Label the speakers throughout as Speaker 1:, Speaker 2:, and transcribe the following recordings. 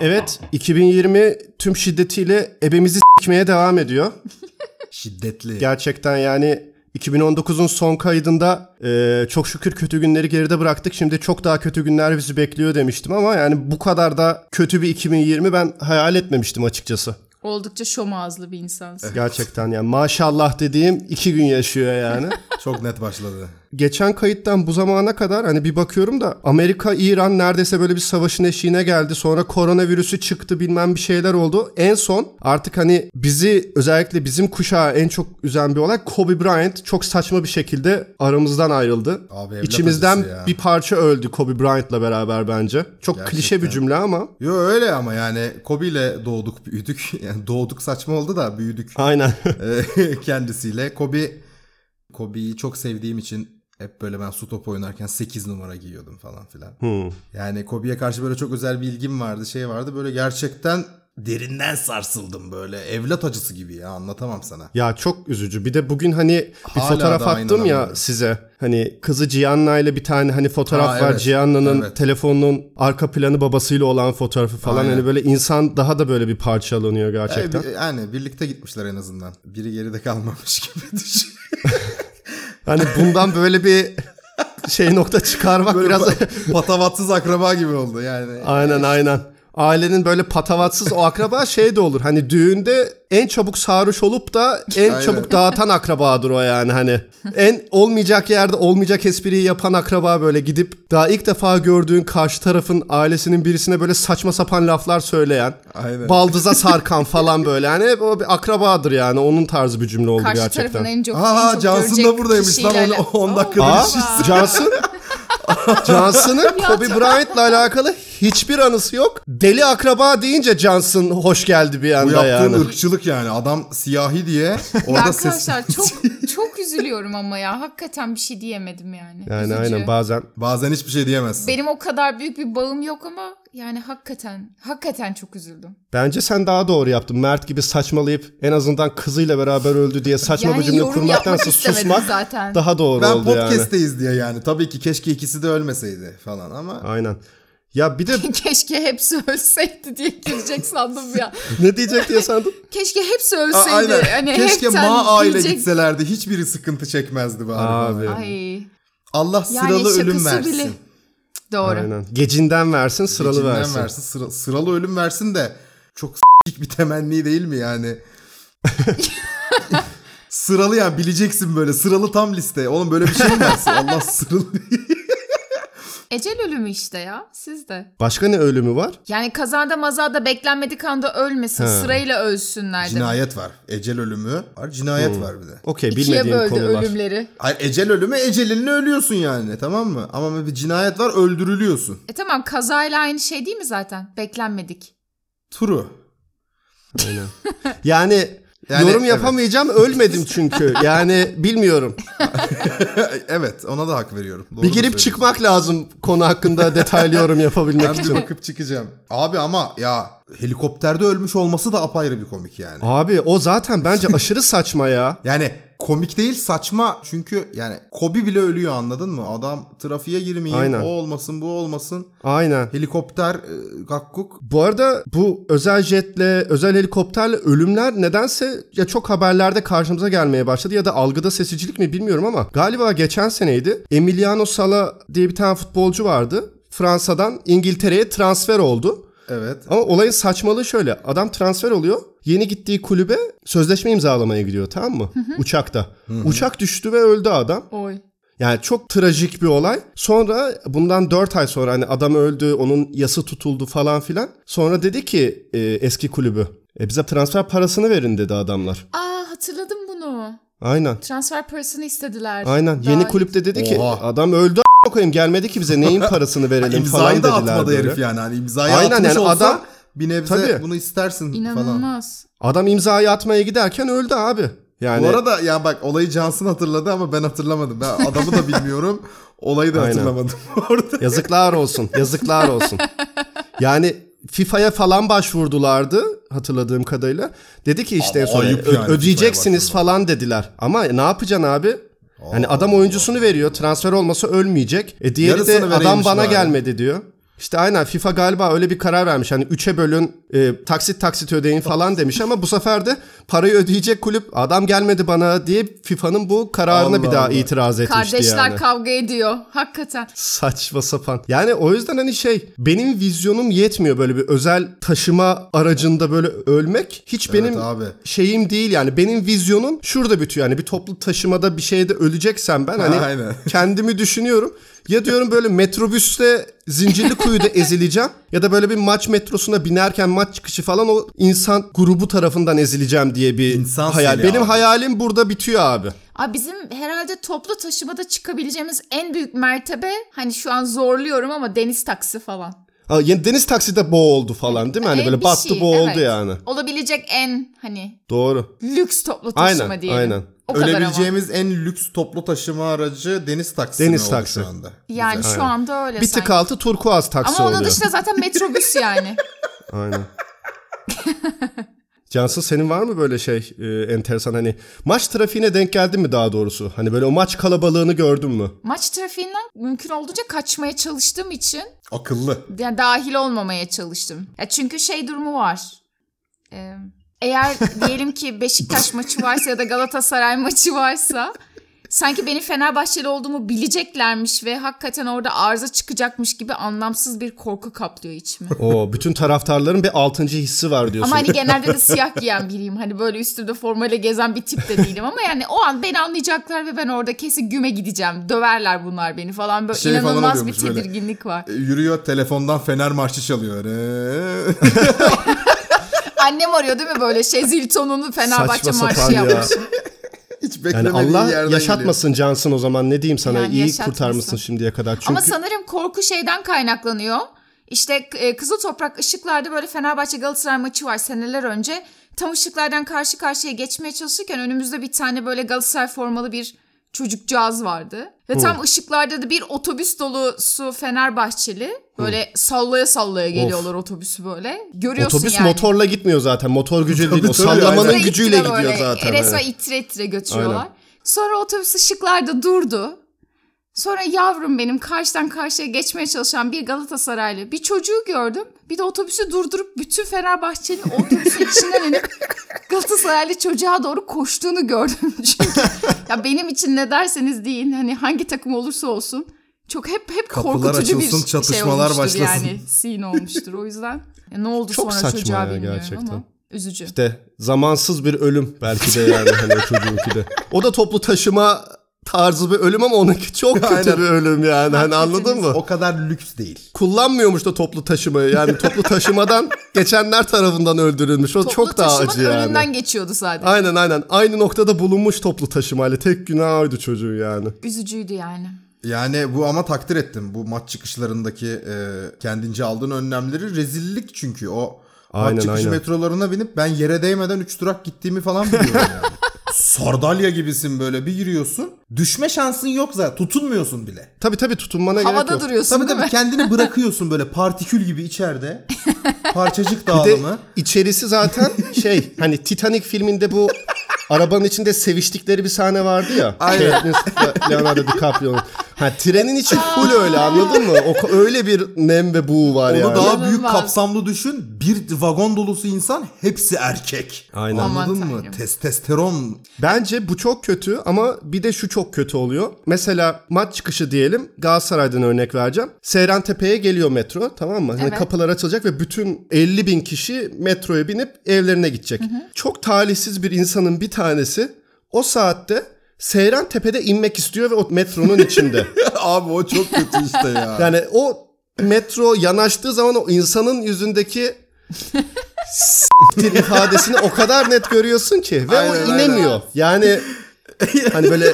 Speaker 1: Evet, 2020 tüm şiddetiyle ebemizi s**meye devam ediyor.
Speaker 2: Şiddetli.
Speaker 1: Gerçekten yani 2019'un son kaydında e, çok şükür kötü günleri geride bıraktık. Şimdi çok daha kötü günler bizi bekliyor demiştim ama yani bu kadar da kötü bir 2020 ben hayal etmemiştim açıkçası.
Speaker 3: Oldukça şomağızlı bir insansın.
Speaker 1: Gerçekten yani maşallah dediğim iki gün yaşıyor yani.
Speaker 2: Çok net başladı.
Speaker 1: Geçen kayıttan bu zamana kadar hani bir bakıyorum da Amerika İran neredeyse böyle bir savaşın eşiğine geldi. Sonra koronavirüsü çıktı bilmem bir şeyler oldu. En son artık hani bizi özellikle bizim kuşağı en çok üzen bir olay Kobe Bryant çok saçma bir şekilde aramızdan ayrıldı.
Speaker 2: Abi evlat
Speaker 1: İçimizden
Speaker 2: acısı ya.
Speaker 1: bir parça öldü Kobe Bryant'la beraber bence. Çok klişe bir cümle ama
Speaker 2: Yo öyle ama yani Kobe ile doğduk büyüdük. Yani doğduk saçma oldu da büyüdük
Speaker 1: aynen.
Speaker 2: Ee, kendisiyle. Kobe Kobe'yi çok sevdiğim için hep böyle ben su topu oynarken 8 numara giyiyordum falan filan.
Speaker 1: Hmm.
Speaker 2: Yani Kobe'ye karşı böyle çok özel bir ilgim vardı, şey vardı. Böyle gerçekten derinden sarsıldım böyle. Evlat acısı gibi ya anlatamam sana.
Speaker 1: Ya çok üzücü. Bir de bugün hani bir
Speaker 2: Hala
Speaker 1: fotoğraf
Speaker 2: daha
Speaker 1: attım ya
Speaker 2: inanamıyorum.
Speaker 1: size. Hani kızı Cihanna ile bir tane hani fotoğraf
Speaker 2: Aa,
Speaker 1: var.
Speaker 2: evet.
Speaker 1: Cihanna'nın
Speaker 2: Evet.
Speaker 1: telefonunun arka planı babasıyla olan fotoğrafı falan.
Speaker 2: Aynen.
Speaker 1: Hani böyle insan daha da böyle bir parçalanıyor
Speaker 2: Yani,
Speaker 1: gerçekten.
Speaker 2: bir- yani birlikte gitmişler en azından. Biri geride kalmamış gibi düşün.
Speaker 1: Hani bundan böyle bir şey nokta çıkarmak
Speaker 2: Böyle
Speaker 1: biraz
Speaker 2: pa- patavatsız akraba gibi oldu yani.
Speaker 1: Aynen aynen. Ailenin böyle patavatsız o akraba şey de olur. Hani düğünde en çabuk sarhoş olup da en
Speaker 2: Aynen.
Speaker 1: çabuk dağıtan akrabadır o yani hani. En olmayacak yerde olmayacak espriyi yapan akraba böyle gidip daha ilk defa gördüğün karşı tarafın ailesinin birisine böyle saçma sapan laflar söyleyen.
Speaker 2: Aynen.
Speaker 1: Baldıza sarkan falan böyle yani hep o bir akrabadır yani onun tarzı bir cümle oldu
Speaker 3: Karşı
Speaker 1: gerçekten.
Speaker 3: tarafın en çok, en
Speaker 2: Aa
Speaker 3: çok
Speaker 2: Cansın da
Speaker 3: görecek
Speaker 2: buradaymış. Tam
Speaker 3: kişiyle
Speaker 2: onu 10
Speaker 3: alakalı.
Speaker 2: dakikadır
Speaker 1: Aa,
Speaker 2: hiç-
Speaker 1: Johnson Johnson'ın Kobe Bryant'la alakalı hiçbir anısı yok. Deli akraba deyince Johnson hoş geldi bir
Speaker 2: Bu
Speaker 1: anda
Speaker 2: yaptığın
Speaker 1: yani.
Speaker 2: ırkçılık yani. Adam siyahi diye
Speaker 3: Ya
Speaker 2: orada ses...
Speaker 3: arkadaşlar çok çok üzülüyorum ama ya hakikaten bir şey diyemedim yani.
Speaker 1: Yani
Speaker 3: Üzücü.
Speaker 1: aynen bazen.
Speaker 2: Bazen hiçbir şey diyemezsin.
Speaker 3: Benim o kadar büyük bir bağım yok ama yani hakikaten hakikaten çok üzüldüm.
Speaker 1: Bence sen daha doğru yaptın. Mert gibi saçmalayıp en azından kızıyla beraber öldü diye saçma bir
Speaker 3: yani
Speaker 1: cümle
Speaker 3: yorum yapmak
Speaker 1: kurmaktansa
Speaker 3: istemedim
Speaker 1: susmak
Speaker 3: zaten.
Speaker 1: daha doğru
Speaker 2: Ben
Speaker 1: oldu yani.
Speaker 2: podcast'teyiz diye yani. Tabii ki keşke ikisi de ölmeseydi falan ama
Speaker 1: Aynen. Ya bir de
Speaker 3: Keşke hepsi ölseydi diye girecek sandım ya.
Speaker 1: ne diyecek diye sandım.
Speaker 3: Keşke hepsi
Speaker 2: A-
Speaker 3: ölseydi.
Speaker 2: aynen.
Speaker 3: Hani
Speaker 2: keşke
Speaker 3: hepten
Speaker 2: Ma aile
Speaker 3: girecek-
Speaker 2: gitselerdi. Hiçbiri sıkıntı çekmezdi bari.
Speaker 1: Abi.
Speaker 3: Ay.
Speaker 2: Allah
Speaker 3: Yani
Speaker 2: sıralı ölüm
Speaker 3: şakası
Speaker 2: versin.
Speaker 3: bile- Doğru.
Speaker 1: Aynen. Gecinden versin sıralı
Speaker 2: Gecinden
Speaker 1: versin.
Speaker 2: Sıra- sıralı ölüm versin de çok s**k bir temenni değil mi yani? sıralı ya bileceksin böyle. Sıralı tam liste. Oğlum böyle bir şey mi versin? Allah sıralı
Speaker 3: Ecel ölümü işte ya. Siz de.
Speaker 1: Başka ne ölümü var?
Speaker 3: Yani kazada mazada beklenmedik anda ölmesin.
Speaker 1: Ha.
Speaker 3: Sırayla ölsünler demek.
Speaker 2: Cinayet var. Ecel ölümü var. Cinayet var bir de.
Speaker 1: Okey
Speaker 3: İkiye
Speaker 1: bilmediğim
Speaker 3: böldü
Speaker 1: konular.
Speaker 3: ölümleri.
Speaker 2: Hayır ecel ölümü ecelinle ölüyorsun yani tamam mı? Ama bir cinayet var öldürülüyorsun.
Speaker 3: E tamam kazayla aynı şey değil mi zaten? Beklenmedik.
Speaker 2: True.
Speaker 1: Yani,
Speaker 2: Yani,
Speaker 1: yorum
Speaker 2: evet.
Speaker 1: yapamayacağım ölmedim çünkü. Yani bilmiyorum.
Speaker 2: evet ona da hak veriyorum.
Speaker 1: bir
Speaker 2: Doğru
Speaker 1: girip
Speaker 2: söylüyorsun.
Speaker 1: çıkmak lazım konu hakkında detaylı yorum yapabilmek
Speaker 2: Ben bir
Speaker 1: için.
Speaker 2: bakıp çıkacağım. Abi ama ya helikopterde ölmüş olması da apayrı bir komik yani.
Speaker 1: Abi o zaten bence aşırı saçma ya.
Speaker 2: Yani komik değil saçma çünkü yani Kobe bile ölüyor anladın mı? Adam trafiğe girmeyeyim
Speaker 1: Aynen.
Speaker 2: o olmasın bu olmasın.
Speaker 1: Aynen.
Speaker 2: Helikopter e, gakkuk.
Speaker 1: Bu arada bu özel jetle, özel helikopterle ölümler nedense ya çok haberlerde karşımıza gelmeye başladı ya da algıda sesicilik mi bilmiyorum ama galiba geçen seneydi. Emiliano Sala diye bir tane futbolcu vardı. Fransa'dan İngiltere'ye transfer oldu.
Speaker 2: Evet.
Speaker 1: Ama olayın saçmalığı şöyle. Adam transfer oluyor. Yeni gittiği kulübe sözleşme imzalamaya gidiyor tamam mı? Uçakta. Uçak düştü ve öldü adam.
Speaker 3: Oy.
Speaker 1: Yani çok trajik bir olay. Sonra bundan 4 ay sonra hani adam öldü, onun yası tutuldu falan filan. Sonra dedi ki e, eski kulübü. E, bize transfer parasını verin dedi adamlar.
Speaker 3: Aa hatırladım bunu.
Speaker 1: Aynen.
Speaker 3: Transfer parasını istediler.
Speaker 1: Aynen.
Speaker 3: Daha-
Speaker 1: Yeni kulüpte dedi ki
Speaker 2: Oha.
Speaker 1: adam öldü a**ına koyayım gelmedi ki bize neyin parasını verelim falan
Speaker 2: İmzayı da
Speaker 1: dediler.
Speaker 2: atmadı
Speaker 1: böyle.
Speaker 2: herif yani. Hani imzayı
Speaker 1: Aynen
Speaker 2: atmış
Speaker 1: yani
Speaker 2: olsa
Speaker 1: adam-
Speaker 2: bir nebze
Speaker 1: Tabii.
Speaker 2: bunu istersin falan.
Speaker 3: İnanılmaz.
Speaker 1: Adam imzayı atmaya giderken öldü abi. Yani
Speaker 2: Bu arada ya bak olayı Johnson hatırladı ama ben hatırlamadım. Ben adamı da bilmiyorum. Olayı da
Speaker 1: Aynen.
Speaker 2: hatırlamadım orada.
Speaker 1: Yazıklar olsun. Yazıklar olsun. Yani FIFA'ya falan başvurdulardı hatırladığım kadarıyla. Dedi ki işte
Speaker 2: Ama
Speaker 1: en son
Speaker 2: ayıp
Speaker 1: "Ö-
Speaker 2: yani FIFA'ya
Speaker 1: ödeyeceksiniz
Speaker 2: başvurmak."
Speaker 1: falan dediler. Ama ne yapacaksın abi? Hani
Speaker 2: Allah
Speaker 1: adam oyuncusunu veriyor. Transfer olmasa ölmeyecek. E diğeri
Speaker 2: Yarısını
Speaker 1: de adam
Speaker 2: vereymiş
Speaker 1: bana
Speaker 2: bari."
Speaker 1: gelmedi diyor. İşte aynen FIFA galiba öyle bir karar vermiş. Hani 3'e bölün, e, taksit taksit ödeyin falan demiş ama bu sefer de parayı ödeyecek kulüp adam gelmedi bana diye FIFA'nın bu kararına
Speaker 2: Allah
Speaker 1: bir daha
Speaker 2: Allah.
Speaker 1: itiraz etmişti
Speaker 3: Kardeşler
Speaker 1: yani.
Speaker 3: kavga ediyor. Hakikaten.
Speaker 1: Saçma sapan. Yani o yüzden hani şey benim vizyonum yetmiyor böyle bir özel taşıma aracında böyle ölmek. Hiç
Speaker 2: Evet
Speaker 1: benim
Speaker 2: abi.
Speaker 1: şeyim değil yani. Benim vizyonum şurada bitiyor. Yani bir toplu taşımada bir şeyde öleceksem ben hani
Speaker 2: aynen.
Speaker 1: kendimi düşünüyorum. Ya diyorum böyle metrobüste zincirli kuyuda ezileceğim ya da böyle bir maç metrosuna binerken maç çıkışı falan o insan grubu tarafından ezileceğim diye bir
Speaker 2: İnsan
Speaker 1: hayal.
Speaker 2: seli
Speaker 1: Benim
Speaker 2: abi.
Speaker 1: hayalim burada bitiyor abi.
Speaker 3: Aa, bizim herhalde toplu taşımada çıkabileceğimiz en büyük mertebe hani şu an zorluyorum ama deniz taksi falan.
Speaker 1: Ha, yani deniz takside boğuldu falan değil mi? Hani
Speaker 3: E,
Speaker 1: böyle
Speaker 3: bir
Speaker 1: battı
Speaker 3: şey,
Speaker 1: boğuldu
Speaker 3: evet.
Speaker 1: yani.
Speaker 3: Olabilecek en hani
Speaker 1: Doğru.
Speaker 3: lüks toplu taşıma
Speaker 1: Aynen,
Speaker 3: diyelim.
Speaker 1: aynen.
Speaker 3: O kadar ama.
Speaker 2: Ölebileceğimiz en lüks toplu taşıma aracı deniz taksi
Speaker 1: Deniz
Speaker 2: mi oldu
Speaker 1: taksi.
Speaker 2: şu anda?
Speaker 3: Yani
Speaker 2: Güzel.
Speaker 3: şu anda öyle
Speaker 1: Bir
Speaker 3: sanki.
Speaker 1: tık altı turkuaz taksi
Speaker 3: Ama onun
Speaker 1: oluyor.
Speaker 3: dışında zaten metrobüs yani.
Speaker 1: Aynen. Cansın senin var mı böyle şey e, enteresan hani maç trafiğine denk geldin mi daha doğrusu? Hani böyle o maç kalabalığını gördün mü?
Speaker 3: Maç trafiğinden mümkün olduğunca kaçmaya çalıştığım için
Speaker 2: akıllı.
Speaker 3: yani dahil olmamaya çalıştım. Ya çünkü şey durumu var. Ee, eğer diyelim ki Beşiktaş maçı varsa ya da Galatasaray maçı varsa sanki benim Fenerbahçeli olduğumu bileceklermiş ve hakikaten orada arıza çıkacakmış gibi anlamsız bir korku kaplıyor içimi.
Speaker 1: O bütün taraftarların bir altıncı hissi var diyorsun.
Speaker 3: Ama hani genelde de siyah giyen biriyim. Hani böyle üstümde formayla gezen bir tip de değilim ama yani o an beni anlayacaklar ve ben orada kesin güme gideceğim. Döverler bunlar beni falan böyle
Speaker 2: Şey falan
Speaker 3: inanılmaz bir
Speaker 2: oluyormuş böyle.
Speaker 3: tedirginlik var.
Speaker 2: E, Yürüyor telefondan Fener marşı çalıyor. Ee,
Speaker 3: Annem arıyor değil mi böyle şey zil tonunu Fenerbahçe
Speaker 1: Saçma
Speaker 3: marşı
Speaker 1: sapan ya.
Speaker 3: yapmış.
Speaker 2: Hiç
Speaker 1: yani
Speaker 2: beklemediğin
Speaker 1: Allah
Speaker 2: yerden
Speaker 1: yaşatmasın Cansın o zaman ne diyeyim sana
Speaker 3: Yani
Speaker 1: iyi
Speaker 3: yaşatmasın.
Speaker 1: kurtarmışsın şimdiye kadar. Çünkü
Speaker 3: Ama sanırım korku şeyden kaynaklanıyor. İşte e, Kızıl Toprak ışıklarda böyle Fenerbahçe Galatasaray maçı var seneler önce. Tam ışıklardan karşı karşıya geçmeye çalışırken önümüzde bir tane böyle Galatasaray formalı bir çocukcağız vardı. Ve
Speaker 1: Oh.
Speaker 3: tam ışıklarda da bir otobüs dolusu Fenerbahçeli. Böyle
Speaker 1: Oh.
Speaker 3: sallaya sallaya geliyorlar otobüsü böyle. Görüyorsun
Speaker 1: otobüs
Speaker 3: yani.
Speaker 1: motorla gitmiyor zaten motor gücü değil
Speaker 2: Tabii,
Speaker 1: o
Speaker 2: tabii,
Speaker 1: sallamanın
Speaker 2: aynen.
Speaker 1: gücüyle
Speaker 3: İttire
Speaker 1: gidiyor
Speaker 3: böyle,
Speaker 1: zaten.
Speaker 3: Resmen
Speaker 1: hani.
Speaker 3: itire itire götürüyorlar.
Speaker 1: Aynen.
Speaker 3: Sonra otobüs ışıklarda durdu. Sonra yavrum benim karşıdan karşıya geçmeye çalışan bir Galatasaraylı bir çocuğu gördüm. Bir de otobüsü durdurup bütün Fenerbahçe'nin otobüsün içinden inip Galatasaraylı çocuğa doğru koştuğunu gördüm. Çünkü ya benim için ne derseniz deyin hani hangi takım olursa olsun çok hep hep
Speaker 2: Kapılar
Speaker 3: korkutucu
Speaker 2: açılsın,
Speaker 3: bir şey
Speaker 2: çatışmalar
Speaker 3: olmuştur
Speaker 2: başlasın.
Speaker 3: yani. Sin olmuştur o yüzden. Ya ne oldu
Speaker 1: Çok
Speaker 3: sonra
Speaker 1: saçma
Speaker 3: çocuğa
Speaker 1: ya
Speaker 3: bilmiyorum
Speaker 1: gerçekten.
Speaker 3: ama üzücü.
Speaker 1: İşte zamansız bir ölüm belki de yani hani o çocuğunki de. O da toplu taşıma tarzı bir ölüm ama onunki çok kötü
Speaker 2: Aynen.
Speaker 1: bir ölüm yani. Hani anladın mı?
Speaker 2: O kadar lüks değil.
Speaker 1: Kullanmıyormuş da toplu taşımayı. Yani toplu taşımadan geçenler tarafından öldürülmüş. O
Speaker 3: Toplu
Speaker 1: çok daha
Speaker 3: taşımanın
Speaker 1: acı yani.
Speaker 3: önünden geçiyordu sadece.
Speaker 1: Aynen aynen. Aynı noktada bulunmuş toplu taşımayla. Tek günah oydu çocuğun yani.
Speaker 3: Üzücüydü yani.
Speaker 2: Yani bu ama takdir ettim. Bu maç çıkışlarındaki e, kendince aldığın önlemleri rezillik çünkü o
Speaker 1: Aynen,
Speaker 2: maç çıkış
Speaker 1: aynen.
Speaker 2: metrolarına binip ben yere değmeden 3 durak gittiğimi falan biliyorum yani. Sardalya gibisin böyle bir giriyorsun. Düşme şansın yok zaten. Tutunmuyorsun bile.
Speaker 1: Tabii tabii tutunmana gerek
Speaker 3: Havada
Speaker 1: yok.
Speaker 3: duruyorsun
Speaker 2: Tabii
Speaker 3: değil
Speaker 2: tabii
Speaker 3: mi?
Speaker 2: kendini bırakıyorsun böyle partikül gibi içeride. Parçacık
Speaker 1: Bir de
Speaker 2: dağılımı.
Speaker 1: içerisi zaten şey hani Titanic filminde bu arabanın içinde seviştikleri bir sahne vardı ya.
Speaker 2: Aynen.
Speaker 1: Kate Winslet'le Leonardo DiCaprio'nun. Ha trenin içi full öyle anladın mı? O, öyle bir nem ve buğu var
Speaker 2: Onu
Speaker 1: yani.
Speaker 2: daha büyük
Speaker 3: İnanılmaz.
Speaker 2: kapsamlı düşün. Bir vagon dolusu insan hepsi erkek.
Speaker 1: Aynen.
Speaker 3: Aman
Speaker 2: Anladın mı?
Speaker 3: tanrım.
Speaker 2: Testosteron
Speaker 1: Bence bu çok kötü ama bir de şu çok kötü oluyor. Mesela maç çıkışı diyelim Galatasaray'dan örnek vereceğim. Seyran Tepe'ye geliyor metro tamam mı? Hani
Speaker 3: Evet.
Speaker 1: kapılar açılacak ve bütün 50 bin kişi metroya binip evlerine gidecek. Çok talihsiz bir insanın bir tanesi o saatte Seyran Tepe'de inmek istiyor ve o metronun içinde.
Speaker 2: Abi o çok kötü işte ya.
Speaker 1: yani o metro yanaştığı zaman o insanın yüzündeki s**tir ifadesini o kadar net görüyorsun ki ve
Speaker 2: Aynen,
Speaker 1: o inemiyor. Yani hani böyle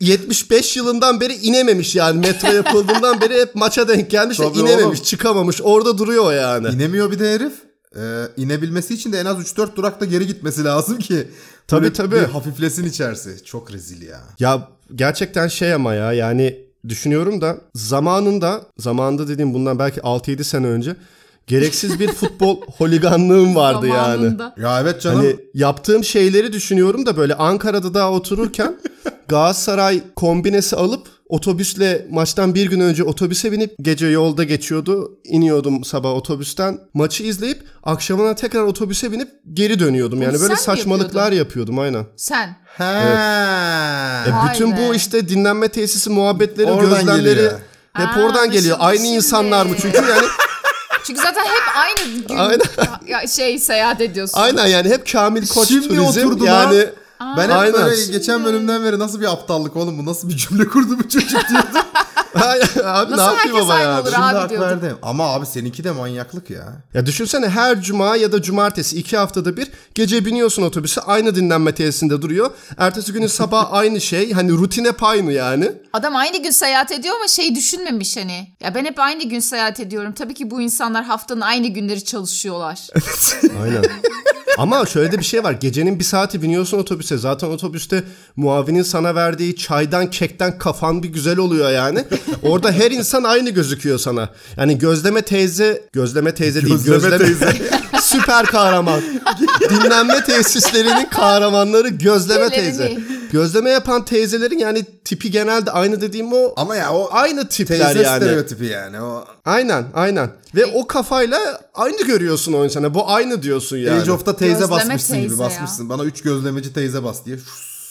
Speaker 1: 75 yılından beri inememiş yani metro yapıldığından beri hep maça denk gelmiş ve
Speaker 2: Tabii
Speaker 1: inememiş,
Speaker 2: oğlum.
Speaker 1: çıkamamış. Orada duruyor o yani.
Speaker 2: İnemiyor bir de herif. Ee, inebilmesi için de en az 3-4 durakta geri gitmesi lazım ki.
Speaker 1: Tabii,
Speaker 2: böyle
Speaker 1: tabii.
Speaker 2: Bir hafiflesin içerisi. Çok rezil ya.
Speaker 1: Ya gerçekten şey ama ya yani düşünüyorum da zamanında, zamanında dediğim bundan belki 6-7 sene önce gereksiz bir futbol holiganlığım vardı yani.
Speaker 3: Zamanında.
Speaker 2: Ya evet canım.
Speaker 1: Hani yaptığım şeyleri düşünüyorum da böyle Ankara'da daha otururken Galatasaray kombinesi alıp otobüsle maçtan bir gün önce otobüse binip gece yolda geçiyordu. İniyordum sabah otobüsten maçı izleyip akşamına tekrar otobüse binip geri dönüyordum. Yani
Speaker 3: Bunu
Speaker 1: böyle
Speaker 3: sen mi
Speaker 1: saçmalıklar yapıyordum aynen.
Speaker 3: Sen.
Speaker 2: He.
Speaker 1: E,
Speaker 3: Vay
Speaker 1: bütün
Speaker 3: be.
Speaker 1: bu işte dinlenme tesisi muhabbetleri,
Speaker 2: Oradan
Speaker 1: gözlemleri
Speaker 2: geliyor.
Speaker 1: hep
Speaker 3: Aa,
Speaker 1: oradan geliyor.
Speaker 3: şimdi,
Speaker 1: Aynı
Speaker 3: şimdi.
Speaker 1: insanlar mı? Çünkü yani
Speaker 3: Çünkü zaten hep aynı gün
Speaker 1: Aynen.
Speaker 3: Ya, şey seyahat ediyorsun.
Speaker 1: aynen yani hep Kamil Koç
Speaker 2: Şimdi
Speaker 1: turizm
Speaker 2: oturdu lan.
Speaker 1: yani
Speaker 2: Ben hep
Speaker 1: Aynen.
Speaker 2: böyle geçen bölümden beri nasıl bir aptallık oğlum bu nasıl bir cümle kurdu bu çocuk diyordum.
Speaker 1: abi ne yapayım
Speaker 3: Nasıl herkes
Speaker 1: ama
Speaker 3: aynı
Speaker 1: yani?
Speaker 3: olur
Speaker 2: Şimdi
Speaker 3: Abi
Speaker 2: hak
Speaker 3: diyordum.
Speaker 2: verdim. Ama abi seninki de manyaklık ya.
Speaker 1: Ya düşünsene her cuma ya da cumartesi iki haftada bir gece biniyorsun otobüse aynı dinlenme tesisinde duruyor. Ertesi günün sabah aynı şey hani rutine pay mı yani?
Speaker 3: Adam aynı gün seyahat ediyor ama şey düşünmemiş hani. Ya ben hep aynı gün seyahat ediyorum. Tabii ki bu insanlar haftanın aynı günleri çalışıyorlar.
Speaker 1: Aynen. Ama şöyle de bir şey var. Gecenin bir saati biniyorsun otobüse. Zaten otobüste muavinin sana verdiği çaydan, kekten kafan bir güzel oluyor yani. Orada her insan aynı gözüküyor sana. Yani gözleme teyze, gözleme teyze değil.
Speaker 2: Gözleme teyze.
Speaker 1: süper kahraman. Dinlenme tesislerinin kahramanları gözleme
Speaker 3: Gözlerini.
Speaker 1: teyze. Gözleme yapan teyzelerin yani tipi genelde aynı dediğim o.
Speaker 2: Ama ya o
Speaker 1: Aynı tipler
Speaker 2: teyze
Speaker 1: yani.
Speaker 2: stereotipi yani. O
Speaker 1: Aynen, aynen. Ve o kafayla aynı görüyorsun o insana. Bu aynı diyorsun yani.
Speaker 2: Age of'ta teyze
Speaker 3: Gözleme
Speaker 2: basmışsın gibi
Speaker 3: teyze ya.
Speaker 2: basmışsın. Bana üç gözlemeci teyze bas diye. Şşş,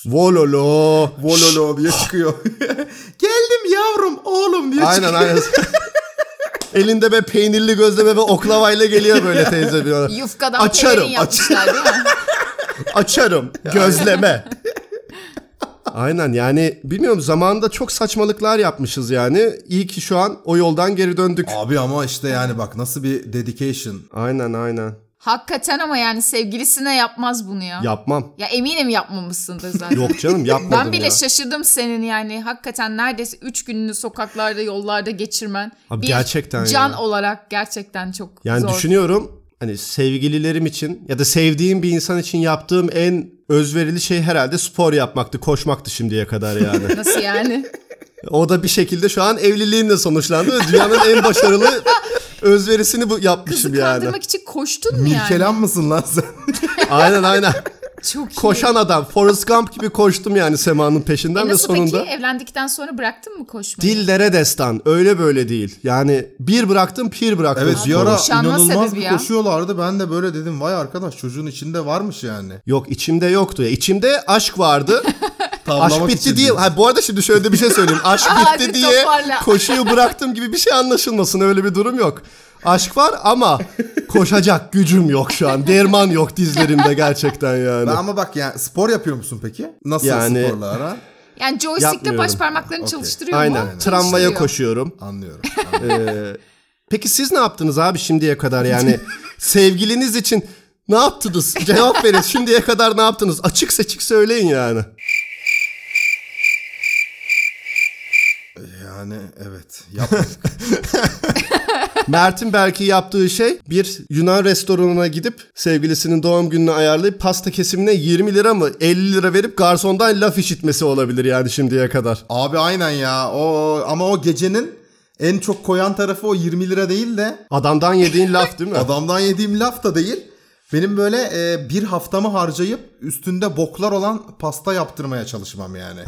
Speaker 1: Vololo.
Speaker 2: Vololo diye çıkıyor. Geldim yavrum oğlum diye
Speaker 1: Aynen
Speaker 2: çıkıyor.
Speaker 1: aynen. Elinde be peynirli gözleme ve oklavayla geliyor böyle teyze diyorlar.
Speaker 3: Yufkadan
Speaker 1: Açarım,
Speaker 3: pelerin yapmışlar değil mi?
Speaker 1: Açarım gözleme. Aynen yani bilmiyorum zamanında çok saçmalıklar yapmışız yani. İyi ki şu an o yoldan geri döndük.
Speaker 2: Abi ama işte yani bak nasıl bir dedication.
Speaker 1: Aynen aynen.
Speaker 3: Hakikaten ama yani sevgilisine yapmaz bunu ya. Ya,
Speaker 1: Yapmam.
Speaker 3: eminim yapmamışsındır zaten.
Speaker 1: Yok canım yapmadım
Speaker 3: Ben bile şey-
Speaker 1: ya.
Speaker 3: şaşırdım senin yani hakikaten neredeyse 3 gününü sokaklarda yollarda geçirmen.
Speaker 1: Abi
Speaker 3: Bir
Speaker 1: gerçekten
Speaker 3: Can
Speaker 1: ya.
Speaker 3: olarak gerçekten çok
Speaker 1: Yani
Speaker 3: zor.
Speaker 1: düşünüyorum hani sevgililerim için ya da sevdiğim bir insan için yaptığım en özverili şey herhalde spor yapmaktı, koşmaktı şimdiye kadar yani.
Speaker 3: Nasıl yani?
Speaker 1: O da bir şekilde şu an evliliğimle sonuçlandı. ve Dünyanın en başarılı özverisini bu yapmışım
Speaker 3: Kızı
Speaker 1: yani.
Speaker 3: kandırmak için koştun mu yani?
Speaker 2: Mirkelan mısın lan sen?
Speaker 1: Aynen aynen.
Speaker 3: Çok iyi.
Speaker 1: Koşan adam. Forrest Gump gibi koştum yani Sema'nın peşinden
Speaker 3: E
Speaker 1: ve
Speaker 3: nasıl
Speaker 1: sonunda.
Speaker 3: peki? Evlendikten sonra bıraktın mı koşmayı?
Speaker 1: Dillere destan. Öyle böyle değil. Yani bir bıraktım pir bıraktım.
Speaker 2: Evet bir ara
Speaker 3: Boşanma
Speaker 2: inanılmaz
Speaker 3: sebebi
Speaker 2: bir
Speaker 3: ya.
Speaker 2: koşuyorlardı. Ben de böyle dedim vay arkadaş çocuğun içinde varmış yani.
Speaker 1: Yok içimde yoktu ya. İçimde aşk vardı. aşk
Speaker 2: Tavlamak için
Speaker 1: bitti diye.
Speaker 2: dedim.
Speaker 1: Ha, bu arada şimdi şöyle de bir şey söyleyeyim. Aşk
Speaker 3: Aa,
Speaker 1: bitti
Speaker 3: bir
Speaker 1: diye
Speaker 3: toparla.
Speaker 1: koşuyu bıraktım gibi bir şey anlaşılmasın. Öyle bir durum yok. Aşk var ama koşacak gücüm yok şu an. Derman yok dizlerimde gerçekten yani.
Speaker 2: Ben ama bak ya spor yapıyor musun peki? Nasıl
Speaker 1: Yani-
Speaker 2: sporla ara?
Speaker 3: Yani joystickle
Speaker 1: Yapmıyorum.
Speaker 3: baş parmaklarını çalıştırıyor mu?
Speaker 1: Aynen. Tramvaya
Speaker 3: Çalıştırıyor.
Speaker 1: koşuyorum.
Speaker 2: Anlıyorum.
Speaker 1: Peki siz ne yaptınız abi şimdiye kadar yani? Sevgiliniz için ne yaptınız? Cevap verin. Şimdiye kadar ne yaptınız? Açık seçik söyleyin yani.
Speaker 2: yani evet. Yapmadık.
Speaker 1: Mert'in belki yaptığı şey bir Yunan restoranına gidip sevgilisinin doğum gününü ayarlayıp pasta kesimine 20 lira mı 50 lira verip garsondan laf işitmesi olabilir yani şimdiye kadar.
Speaker 2: Abi aynen ya. O ama o gecenin en çok koyan tarafı o 20 lira değil de
Speaker 1: Adamdan yediğin laf değil mi?
Speaker 2: adamdan yediğim laf da değil. Benim böyle e, bir haftamı harcayıp üstünde boklar olan pasta yaptırmaya çalışmam yani.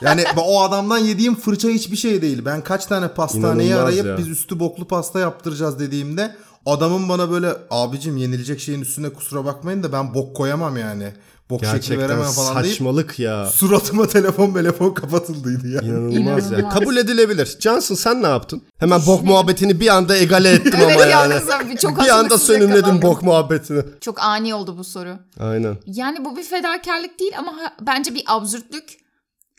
Speaker 2: yani ben o adamdan yediğim fırça hiçbir şey değil. Ben kaç tane pastaneyi
Speaker 1: İnanılmaz
Speaker 2: arayıp
Speaker 1: ya.
Speaker 2: biz üstü boklu pasta yaptıracağız dediğimde adamın bana böyle abicim yenilecek şeyin üstüne kusura bakmayın da ben bok koyamam yani. Bok şekli
Speaker 1: Gerçekten
Speaker 2: veremem falan deyip
Speaker 1: saçmalık ya.
Speaker 2: suratıma telefon telefon kapatıldıydı ya.
Speaker 1: İnanılmaz ya.
Speaker 3: İnanılmaz.
Speaker 1: Kabul edilebilir. Cansın sen ne yaptın? Hemen bok muhabbetini bir anda egale ettim
Speaker 3: Evet,
Speaker 1: ama yani.
Speaker 3: yalnız abi, çok
Speaker 1: bir anda
Speaker 3: hazırlıksız
Speaker 1: sönümledim
Speaker 3: yakalandım.
Speaker 1: bok muhabbetini.
Speaker 3: Çok ani oldu bu soru.
Speaker 1: Aynen.
Speaker 3: Yani bu bir fedakarlık değil ama ha- bence bir absürtlük.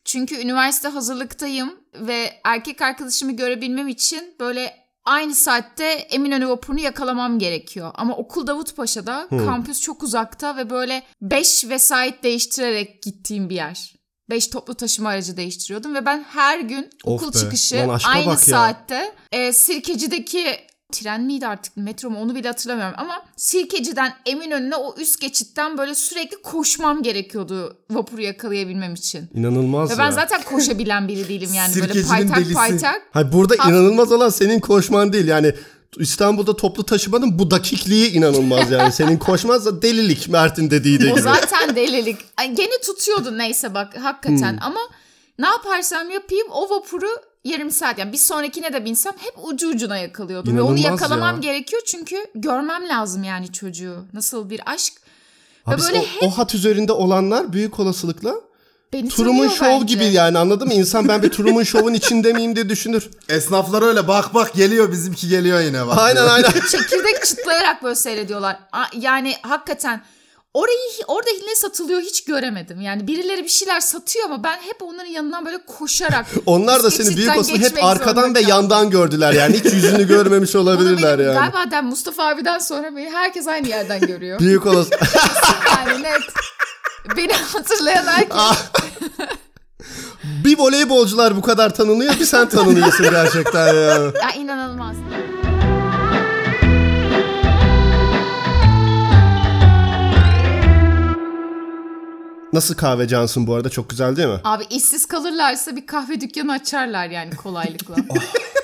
Speaker 3: Çünkü üniversite hazırlıktayım ve erkek arkadaşımı görebilmem için böyle aynı saatte Eminönü vapurunu yakalamam gerekiyor. Ama okul Davutpaşa'da, kampüs çok uzakta ve böyle 5 vesait değiştirerek gittiğim bir yer. 5 toplu taşıma aracı değiştiriyordum ve ben her gün
Speaker 1: Of
Speaker 3: okul
Speaker 1: be,
Speaker 3: çıkışı
Speaker 1: lan aşka
Speaker 3: aynı
Speaker 1: bak ya.
Speaker 3: saatte e, Sirkeci'deki tren miydi artık metro mu onu bile hatırlamıyorum ama Sirkeci'den Eminönü'ne o üst geçitten böyle sürekli koşmam gerekiyordu vapuru yakalayabilmem için.
Speaker 1: İnanılmaz
Speaker 3: Ve ben
Speaker 1: ya.
Speaker 3: zaten koşabilen biri değilim yani böyle
Speaker 2: Sirkeci'nin
Speaker 3: paytak
Speaker 2: delisi.
Speaker 3: paytak.
Speaker 1: Hayır, burada inanılmaz olan senin koşman değil yani İstanbul'da toplu taşımanın bu dakikliği inanılmaz yani. Senin koşmaz da delilik Mert'in dediği de
Speaker 3: O
Speaker 1: gibi.
Speaker 3: zaten delilik. Ay, Gene tutuyordu neyse bak hakikaten
Speaker 1: Hmm.
Speaker 3: ama ne yaparsam yapayım o vapuru yarım saat yani bir sonrakine de binsem hep ucu ucuna yakalıyordum. Ve onu
Speaker 1: İnanılmaz
Speaker 3: yakalamam
Speaker 1: ya.
Speaker 3: gerekiyor çünkü görmem lazım yani çocuğu. Nasıl bir aşk.
Speaker 1: Abi
Speaker 3: böyle
Speaker 1: o, o hat üzerinde olanlar büyük olasılıkla
Speaker 3: Beni
Speaker 1: Truman
Speaker 3: tanıyor
Speaker 1: Show
Speaker 3: bence.
Speaker 1: gibi yani anladın mı? İnsan ben bir Truman Show'un içinde miyim diye düşünür.
Speaker 2: Esnaflar öyle bak bak geliyor bizimki geliyor yine bak.
Speaker 1: Aynen aynen.
Speaker 3: Çekirdek çıtlayarak Şey, böyle seyrediyorlar. A- Yani hakikaten orayı orada ne satılıyor hiç göremedim. Yani birileri bir şeyler satıyor ama ben hep onların yanından böyle koşarak.
Speaker 1: Onlar da seni
Speaker 3: bisikletten
Speaker 1: büyük olasılık hep
Speaker 3: geçmek
Speaker 1: arkadan
Speaker 3: zorunda
Speaker 1: ve
Speaker 3: kaldım.
Speaker 1: yandan gördüler yani. Hiç yüzünü görmemiş
Speaker 3: Onu
Speaker 1: olabilirler
Speaker 3: benim
Speaker 1: yani.
Speaker 3: Galiba den Mustafa abiden sonra beni herkes aynı yerden görüyor.
Speaker 1: Büyük olasılık.
Speaker 3: yani net. Beni hatırlayan herkes.
Speaker 1: bir voleybolcular bu kadar tanınıyor bir sen tanınıyorsun gerçekten ya.
Speaker 3: Ya inanılmaz.
Speaker 1: Nasıl kahve Cansın bu arada çok güzel değil mi?
Speaker 3: Abi işsiz kalırlarsa bir kahve dükkanı açarlar yani kolaylıkla.
Speaker 1: Oh.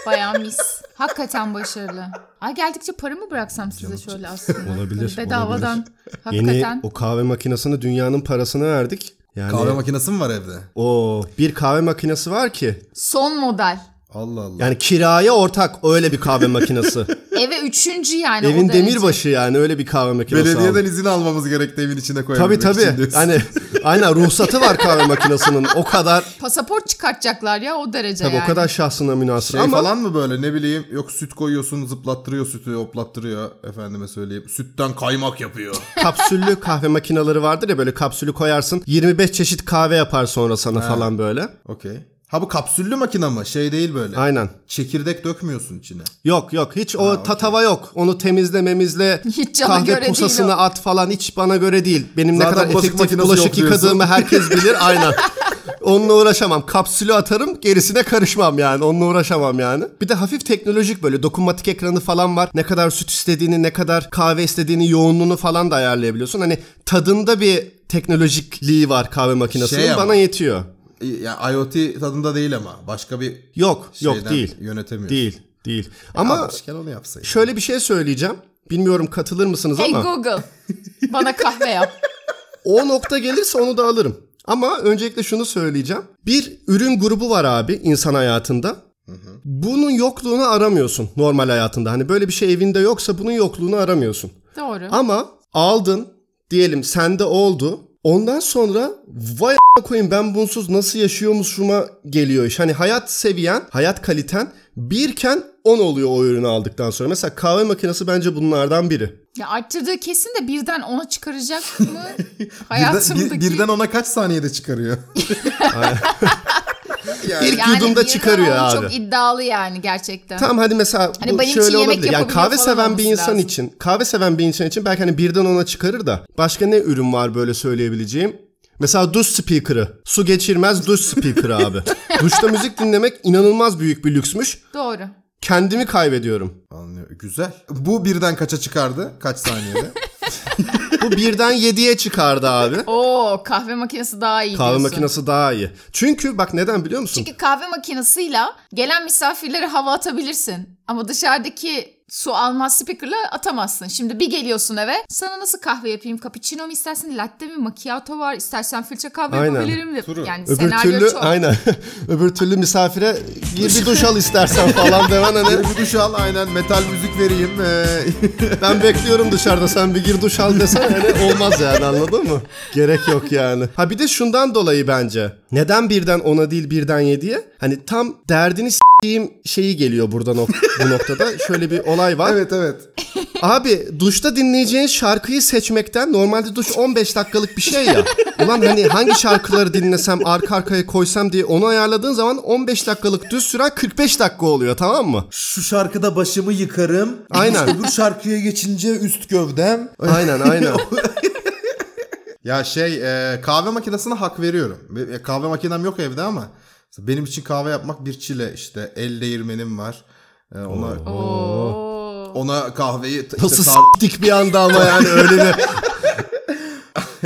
Speaker 3: Bayağı mis. Hakikaten başarılı. Ay geldikçe para mı bıraksam size şöyle aslında?
Speaker 1: Olabilir,
Speaker 3: Böyle Bedavadan.
Speaker 1: olabilir. Yeni
Speaker 3: Hakikaten.
Speaker 1: o kahve makinesini dünyanın parasına verdik. Yani
Speaker 2: Kahve makinesi mi var evde?
Speaker 1: o bir kahve makinesi var ki.
Speaker 3: Son model.
Speaker 2: Allah Allah.
Speaker 1: Yani kiraya ortak öyle bir kahve makinesi.
Speaker 3: Eve üçüncü yani. o
Speaker 1: Evin
Speaker 3: derece.
Speaker 1: demirbaşı yani öyle bir kahve makinesi. aldım.
Speaker 2: Belediyeden izin almamız gerekti evin içine koyabilmek
Speaker 1: Tabii
Speaker 2: için
Speaker 1: tabii.
Speaker 2: diyorsun.
Speaker 1: Hani aynen ruhsatı var kahve makinesinin. O kadar
Speaker 3: Pasaport çıkartacaklar ya o derece
Speaker 1: tabii
Speaker 3: yani.
Speaker 1: o kadar şahsına münasır
Speaker 2: Şey
Speaker 1: ama
Speaker 2: falan mı böyle ne bileyim yok süt koyuyorsun zıplattırıyor sütü hoplattırıyor efendime söyleyeyim. Sütten kaymak yapıyor.
Speaker 1: kapsüllü kahve makineleri vardır ya böyle kapsülü koyarsın 25 çeşit kahve yapar sonra sana falan böyle.
Speaker 2: Okey. Ha bu kapsüllü makine mi? Şey değil böyle.
Speaker 1: Aynen.
Speaker 2: Çekirdek dökmüyorsun içine.
Speaker 1: Yok yok hiç o tatava yok. Onu temizlememizle
Speaker 3: Hiç bana göre
Speaker 1: kahve
Speaker 3: değil
Speaker 1: posasını
Speaker 3: o.
Speaker 1: at falan hiç bana göre değil. Benim
Speaker 2: Zaten
Speaker 1: ne kadar
Speaker 2: bulaşık
Speaker 1: efektif
Speaker 2: makinesi
Speaker 1: bulaşık
Speaker 2: yok diyorsun.
Speaker 1: yıkadığımı herkes bilir. Aynen. Onunla uğraşamam. Kapsülü atarım gerisine karışmam yani. Onunla uğraşamam yani. Bir de hafif teknolojik böyle dokunmatik ekranı falan var. Ne kadar süt istediğini, ne kadar kahve istediğini, yoğunluğunu falan da ayarlayabiliyorsun. Hani tadında bir teknolojikliği var kahve makinesinin.
Speaker 2: Şey ama-
Speaker 1: Bana yetiyor.
Speaker 2: E, Ya IoT tadında değil ama başka bir
Speaker 1: Yok, yok
Speaker 2: şeyden
Speaker 1: değil.
Speaker 2: yönetemiyorsun.
Speaker 1: Değil, değil. Ama
Speaker 2: Almışken onu yapsaydı.
Speaker 1: şöyle bir şey söyleyeceğim. Bilmiyorum katılır mısınız
Speaker 3: Hey
Speaker 1: ama
Speaker 3: Google. Bana kahve yap.
Speaker 1: O nokta gelirse onu da alırım. Ama öncelikle şunu söyleyeceğim. Bir ürün grubu var abi insan hayatında. Bunun yokluğunu aramıyorsun normal hayatında. Hani böyle bir şey evinde yoksa bunun yokluğunu aramıyorsun.
Speaker 3: Doğru.
Speaker 1: Ama aldın diyelim sende oldu. Ondan sonra vay a**ına koyayım ben bunsuz nasıl yaşıyormuşuma geliyor iş. Hani hayat seviyen, hayat kaliten birken 10 oluyor o ürünü aldıktan sonra. Mesela kahve makinesi bence bunlardan biri.
Speaker 3: Ya arttırdığı kesin de birden ona çıkaracak mı?
Speaker 2: Birden,
Speaker 3: Hayatımdaki...
Speaker 2: bir- birden ona kaç saniyede çıkarıyor? yani,
Speaker 1: İlk yudumda
Speaker 3: birden
Speaker 1: çıkarıyor
Speaker 3: onu
Speaker 1: abi.
Speaker 3: Çok iddialı yani gerçekten.
Speaker 1: Tamam hadi mesela
Speaker 3: Hani
Speaker 1: bu
Speaker 3: benim için
Speaker 1: şöyle
Speaker 3: yemek
Speaker 1: olabilir. Yani
Speaker 3: yapabiliyor
Speaker 1: kahve
Speaker 3: falan
Speaker 1: seven bir
Speaker 3: olması
Speaker 1: insan
Speaker 3: lazım.
Speaker 1: için, kahve seven bir insan için belki hani birden ona çıkarır da başka ne ürün var böyle söyleyebileceğim? Mesela duş speaker'ı. Su geçirmez duş speaker'ı abi. Duşta müzik dinlemek inanılmaz büyük bir lüksmüş.
Speaker 3: Doğru.
Speaker 1: Kendimi kaybediyorum.
Speaker 2: Anlıyor. Güzel. Bu birden kaça çıkardı? Kaç saniyede?
Speaker 1: Bu birden yediye çıkardı abi.
Speaker 3: Oo kahve makinesi daha iyi
Speaker 1: Kahve
Speaker 3: diyorsun.
Speaker 1: makinesi daha iyi. Çünkü bak neden biliyor musun?
Speaker 3: Çünkü kahve makinesiyle gelen misafirlere hava atabilirsin. Ama dışarıdaki su almaz speakerla atamazsın. Şimdi bir geliyorsun eve sana nasıl kahve yapayım? Cappuccino mu istersin? Latte mi? Macchiato var. İstersen filtre kahve
Speaker 1: Aynen.
Speaker 3: yapabilirim de. Yani
Speaker 1: Öbür
Speaker 3: senaryo
Speaker 1: türlü
Speaker 3: çok.
Speaker 1: aynen. Öbür türlü misafire gir bir duş al istersen falan demen hani
Speaker 2: Bir duş al aynen metal müzik vereyim. Ee,
Speaker 1: Ben bekliyorum dışarıda sen bir gir duş al desene hani olmaz yani anladın mı? Gerek yok yani. Ha bir de şundan dolayı bence. Neden birden ona değil birden yediye? Hani tam derdini s**eyim şeyi geliyor burada nok- bu noktada. Şöyle bir olay var.
Speaker 2: evet evet.
Speaker 1: Abi duşta dinleyeceğin şarkıyı seçmekten normalde duş 15 dakikalık bir şey ya. Ulan hani hangi şarkıları dinlesem arka arkaya koysam diye onu ayarladığın zaman 15 dakikalık düz süren 45 dakika oluyor tamam mı?
Speaker 2: Şu şarkıda başımı yıkarım.
Speaker 1: Aynen.
Speaker 2: Öbür şarkıya geçince üst gövdem.
Speaker 1: Aynen aynen.
Speaker 2: Ya şey e, kahve makinesine hak veriyorum. Ve- e, Kahve makinem yok evde ama mesela benim için kahve yapmak bir çile işte. El değirmenim var. E, ona
Speaker 3: Oo.
Speaker 2: Ona kahveyi t- işte
Speaker 1: Nasıl
Speaker 2: tar-
Speaker 1: s**tik bir anda ama yani öyle bir.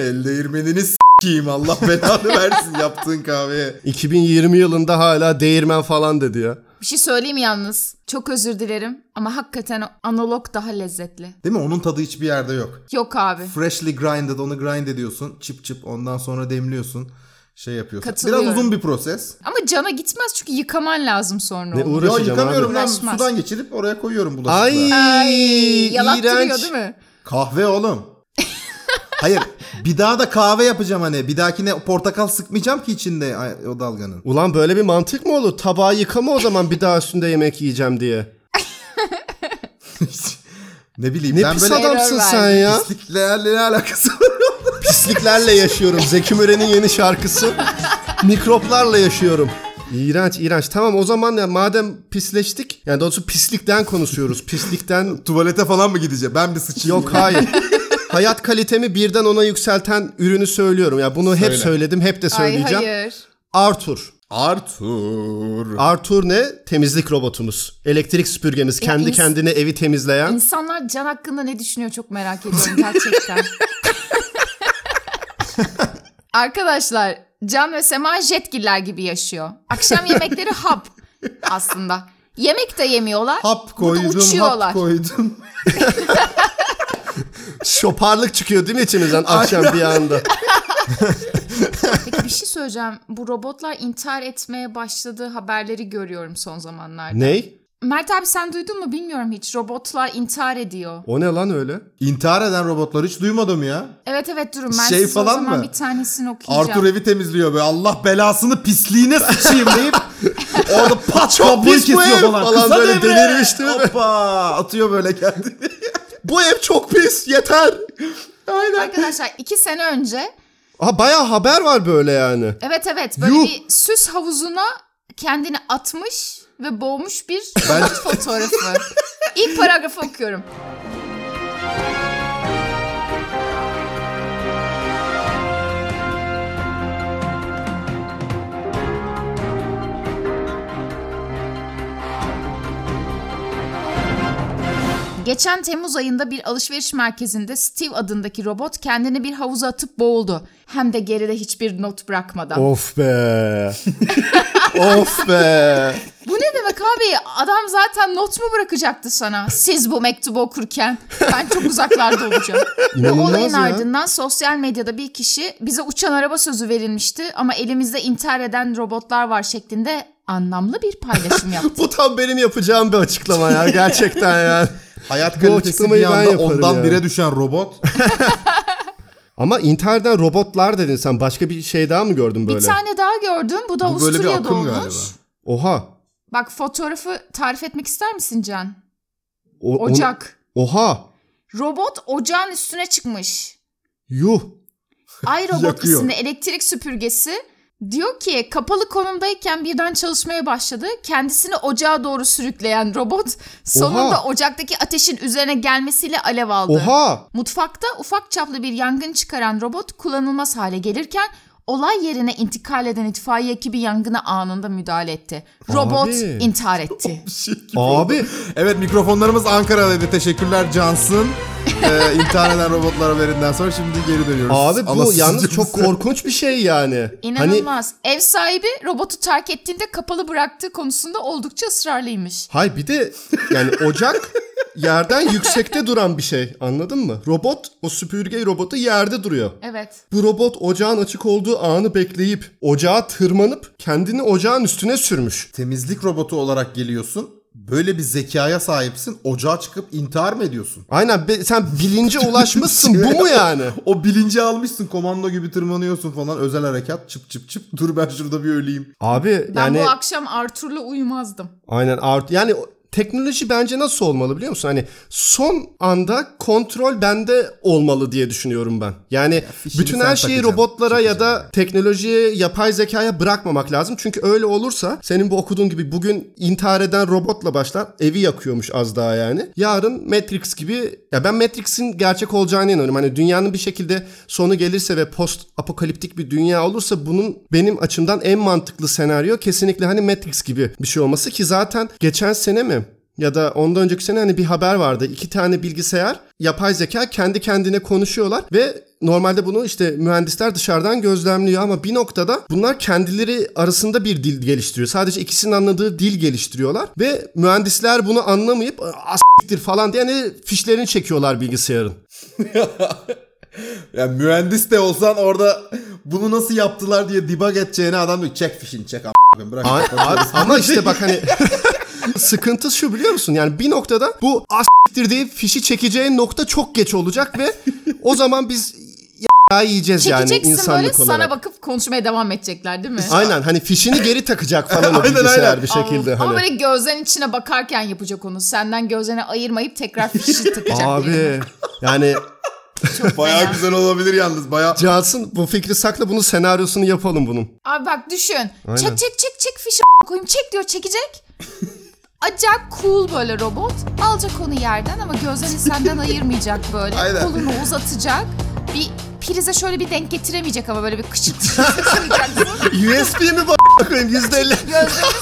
Speaker 2: El değirmenini s**eyim Allah belanı versin yaptığın kahveye.
Speaker 1: 2020 yılında hala değirmen falan dedi ya.
Speaker 3: Bir şey söyleyeyim yalnız. Çok özür dilerim ama hakikaten o analog daha lezzetli.
Speaker 2: Değil mi? Onun tadı hiçbir yerde yok.
Speaker 3: Yok abi.
Speaker 2: Freshly grinded onu grind ediyorsun. Çıp çıp ondan sonra demliyorsun. Şey yapıyorsun. Biraz
Speaker 3: Katılıyorum.
Speaker 2: uzun bir proses.
Speaker 3: Ama cana gitmez çünkü yıkaman lazım
Speaker 1: Ne
Speaker 3: sonra. onu.
Speaker 2: Ya
Speaker 1: uğraşacağım abi.
Speaker 2: yıkamıyorum lan
Speaker 3: Uğraşmaz.
Speaker 2: sudan geçirip oraya koyuyorum bulaşıkları.
Speaker 1: Ay,
Speaker 3: Ay, yalattırıyor
Speaker 1: iğrenç.
Speaker 3: değil mi?
Speaker 2: Kahve oğlum. Hayır bir daha da kahve yapacağım hani. Bir dahakine portakal sıkmayacağım ki içinde ay- o dalganın.
Speaker 1: Ulan böyle bir mantık mı olur? Tabağı yıkama o zaman bir daha üstünde yemek yiyeceğim diye.
Speaker 2: ne bileyim
Speaker 1: Ne
Speaker 2: ben
Speaker 1: pis
Speaker 2: böyle
Speaker 1: adamsın
Speaker 3: Error
Speaker 1: sen
Speaker 3: verdim.
Speaker 1: ya.
Speaker 2: pisliklerle ne alakası var?
Speaker 1: Pisliklerle yaşıyorum. Zeki Müren'in yeni şarkısı. Mikroplarla yaşıyorum. İğrenç iğrenç. Tamam o zaman ya madem pisleştik. Yani doğrusu pislikten konuşuyoruz. Pislikten
Speaker 2: Tuvalete falan mı gideceğim? Ben bir sıçayım.
Speaker 1: Yok hayır. Hayat kalitemi birden ona yükselten ürünü söylüyorum. Ya bunu hep
Speaker 2: Söyle.
Speaker 1: söyledim, hep de
Speaker 3: Ay
Speaker 1: söyleyeceğim.
Speaker 3: hayır.
Speaker 1: Arthur.
Speaker 2: Arthur.
Speaker 1: Arthur ne? Temizlik robotumuz. Elektrik süpürgemiz. Kendi
Speaker 3: ins-
Speaker 1: kendine evi temizleyen.
Speaker 3: İnsanlar can hakkında ne düşünüyor çok merak ediyorum gerçekten. Arkadaşlar Can ve Sema jetgiller gibi yaşıyor. Akşam yemekleri hap aslında. Yemek de yemiyorlar.
Speaker 2: Hap
Speaker 3: Burada
Speaker 2: koydum,
Speaker 3: uçuyorlar.
Speaker 2: hap koydum.
Speaker 1: Şoparlık çıkıyor değil mi içimizden akşam bir anda?
Speaker 3: Peki bir şey söyleyeceğim. Bu robotlar intihar etmeye başladığı haberleri görüyorum son zamanlarda.
Speaker 1: Ney?
Speaker 3: Mert abi sen duydun mu bilmiyorum hiç. Robotlar intihar ediyor.
Speaker 1: O ne lan öyle?
Speaker 2: İntihar eden robotlar hiç duymadım ya.
Speaker 3: Evet evet durun ben
Speaker 2: Şey
Speaker 3: size o
Speaker 2: falan
Speaker 3: zaman
Speaker 2: mı?
Speaker 3: bir tanesini okuyacağım.
Speaker 2: Arthur evi temizliyor böyle. Allah belasını pisliğine sıçayım deyip orada pat
Speaker 1: pis
Speaker 2: kapıyı
Speaker 1: bu
Speaker 2: kesiyor
Speaker 1: ev
Speaker 2: falan.
Speaker 1: falan
Speaker 2: Kısa
Speaker 1: böyle
Speaker 2: devre.
Speaker 1: delirmiş değil mi?
Speaker 2: Hoppa atıyor böyle kendini.
Speaker 1: Bu ev çok pis yeter.
Speaker 2: Aynen.
Speaker 3: Arkadaşlar iki sene önce
Speaker 1: Aha bayağı haber var böyle yani.
Speaker 3: evet evet böyle
Speaker 1: Yuh.
Speaker 3: bir süs havuzuna kendini atmış ve boğmuş bir robot fotoğrafı. İlk paragrafı okuyorum. Geçen Temmuz ayında bir alışveriş merkezinde Steve adındaki robot kendini bir havuza atıp boğuldu. Hem de geride hiçbir not bırakmadan.
Speaker 1: Of be. of be.
Speaker 3: Bu ne demek abi? Adam zaten not mu bırakacaktı sana? Siz bu mektubu okurken ben çok uzaklarda olacağım. Bu
Speaker 1: İnanılmaz
Speaker 3: olayın
Speaker 1: ya.
Speaker 3: ardından sosyal medyada bir kişi bize uçan araba sözü verilmişti ama elimizde intihar eden robotlar var şeklinde anlamlı bir paylaşım yaptı.
Speaker 1: Bu tam benim yapacağım bir açıklama ya gerçekten yani.
Speaker 2: Hayat
Speaker 1: Bu
Speaker 2: kalitesi
Speaker 1: açıklamayı
Speaker 2: bir
Speaker 1: ben
Speaker 2: anda
Speaker 1: yaparım
Speaker 2: ondan
Speaker 1: ya.
Speaker 2: bire düşen robot.
Speaker 1: Ama internetten robotlar dedin sen. Başka bir şey daha mı gördün böyle?
Speaker 3: Bir tane daha gördüm. Bu da
Speaker 2: Bu böyle bir
Speaker 3: Avusturya'da
Speaker 2: akım
Speaker 3: olmuş.
Speaker 2: galiba.
Speaker 1: Oha.
Speaker 3: Bak fotoğrafı tarif etmek ister misin Can?
Speaker 1: O- on-
Speaker 3: Ocak.
Speaker 1: Oha.
Speaker 3: Robot ocağın üstüne çıkmış.
Speaker 1: Yuh.
Speaker 3: Ay robot
Speaker 2: Yakıyor.
Speaker 3: isimli elektrik süpürgesi diyor ki kapalı konumdayken birden çalışmaya başladı. Kendisini ocağa doğru sürükleyen robot sonunda
Speaker 1: Oha.
Speaker 3: ocaktaki ateşin üzerine gelmesiyle alev aldı.
Speaker 1: Oha.
Speaker 3: Mutfakta ufak çaplı bir yangın çıkaran robot kullanılmaz hale gelirken olay yerine intikal eden itfaiye ekibi yangına anında müdahale etti. Robot
Speaker 1: Abi. Hani
Speaker 3: intihar etti.
Speaker 1: Abi.
Speaker 2: evet mikrofonlarımız Ankara'daydı. Teşekkürler Cansın. ee, intihar eden robotlara verinden sonra şimdi geri dönüyoruz.
Speaker 1: Abi
Speaker 2: Allah
Speaker 1: bu yalnız
Speaker 2: sizi-
Speaker 1: çok korkunç bir şey yani. Hani
Speaker 3: İnanılmaz. Ev sahibi robotu terk ettiğinde kapalı bıraktığı konusunda oldukça ısrarlıymış.
Speaker 1: hay bir de yani ocak yerden yüksekte duran bir şey. Anladın mı? Robot o süpürge robotu yerde duruyor.
Speaker 3: Evet.
Speaker 1: Bu robot ocağın açık olduğu anı bekleyip ocağa tırmanıp kendini ocağın üstüne sürmüş.
Speaker 2: Temizlik robotu olarak geliyorsun. Böyle bir zekaya sahipsin. Ocağa çıkıp intihar mı ediyorsun?
Speaker 1: Aynen be- sen bilince ulaşmışsın bu mu yani?
Speaker 2: O bilinci almışsın komando gibi tırmanıyorsun falan özel harekat çıp çıp çıp dur ben şurada bir öleyim.
Speaker 1: Abi
Speaker 3: Ben
Speaker 1: yani
Speaker 3: bu akşam Arthur'la uyumazdım.
Speaker 1: Aynen art yani o- teknoloji bence nasıl olmalı biliyor musun? Hani son anda kontrol bende olmalı diye düşünüyorum ben. Yani
Speaker 2: fişini
Speaker 1: bütün
Speaker 2: sen
Speaker 1: her şeyi
Speaker 2: takacaksın,
Speaker 1: robotlara ya da
Speaker 2: çekeceksin.
Speaker 1: teknolojiye, yapay zekaya bırakmamak lazım. Çünkü öyle olursa senin bu okuduğun gibi bugün intihar eden robotla başlar evi yakıyormuş az daha yani. Yarın Matrix gibi ya ben Matrix'in gerçek olacağına inanıyorum. Hani dünyanın bir şekilde sonu gelirse ve post apokaliptik bir dünya olursa bunun benim açımdan en mantıklı senaryo kesinlikle hani Matrix gibi bir şey olması ki zaten geçen sene mi ya da ondan önceki sene hani bir haber vardı. İki tane bilgisayar yapay zeka kendi kendine konuşuyorlar ve normalde bunu işte mühendisler dışarıdan gözlemliyor ama bir noktada bunlar kendileri arasında bir dil geliştiriyor. Sadece ikisinin anladığı dil geliştiriyorlar ve mühendisler bunu anlamayıp asiktir falan diye hani fişlerini çekiyorlar bilgisayarın.
Speaker 2: Yani mühendis de olsan orada bunu nasıl yaptılar diye debug edeceğine adam diyor çek fişini çek a**ın bırak.
Speaker 1: A- a- ama işte bak hani sıkıntı şu biliyor musun? Yani bir noktada bu asiktir deyip fişi çekeceğin nokta çok geç olacak ve o zaman biz ya yiyeceğiz yani
Speaker 3: Çekeceksin böyle
Speaker 1: insanlık olarak.
Speaker 3: sana bakıp konuşmaya devam edecekler değil mi?
Speaker 1: Aynen hani fişini geri takacak falan o
Speaker 2: Aynen,
Speaker 1: bilgisayar
Speaker 2: aynen.
Speaker 1: bir şekilde
Speaker 3: Ama
Speaker 1: hani.
Speaker 3: böyle gözlerin içine bakarken yapacak onu. Senden gözlerine ayırmayıp tekrar fişi takacak.
Speaker 1: Abi yani
Speaker 2: Baya güzel olabilir yalnız baya.
Speaker 1: Johnson bu fikri sakla bunu senaryosunu yapalım bunun.
Speaker 3: Abi bak düşün.
Speaker 1: Aynen.
Speaker 3: Çek çek çek çek fişi koyayım. Çek diyor çekecek. Acayip cool böyle robot. Alacak onu yerden ama gözlerini senden ayırmayacak böyle.
Speaker 2: Aynen.
Speaker 3: Kolunu uzatacak. Bir prize şöyle bir denk getiremeyecek ama böyle bir kışık duyacaksın.
Speaker 1: USB mi bakayım %50
Speaker 3: gözleri,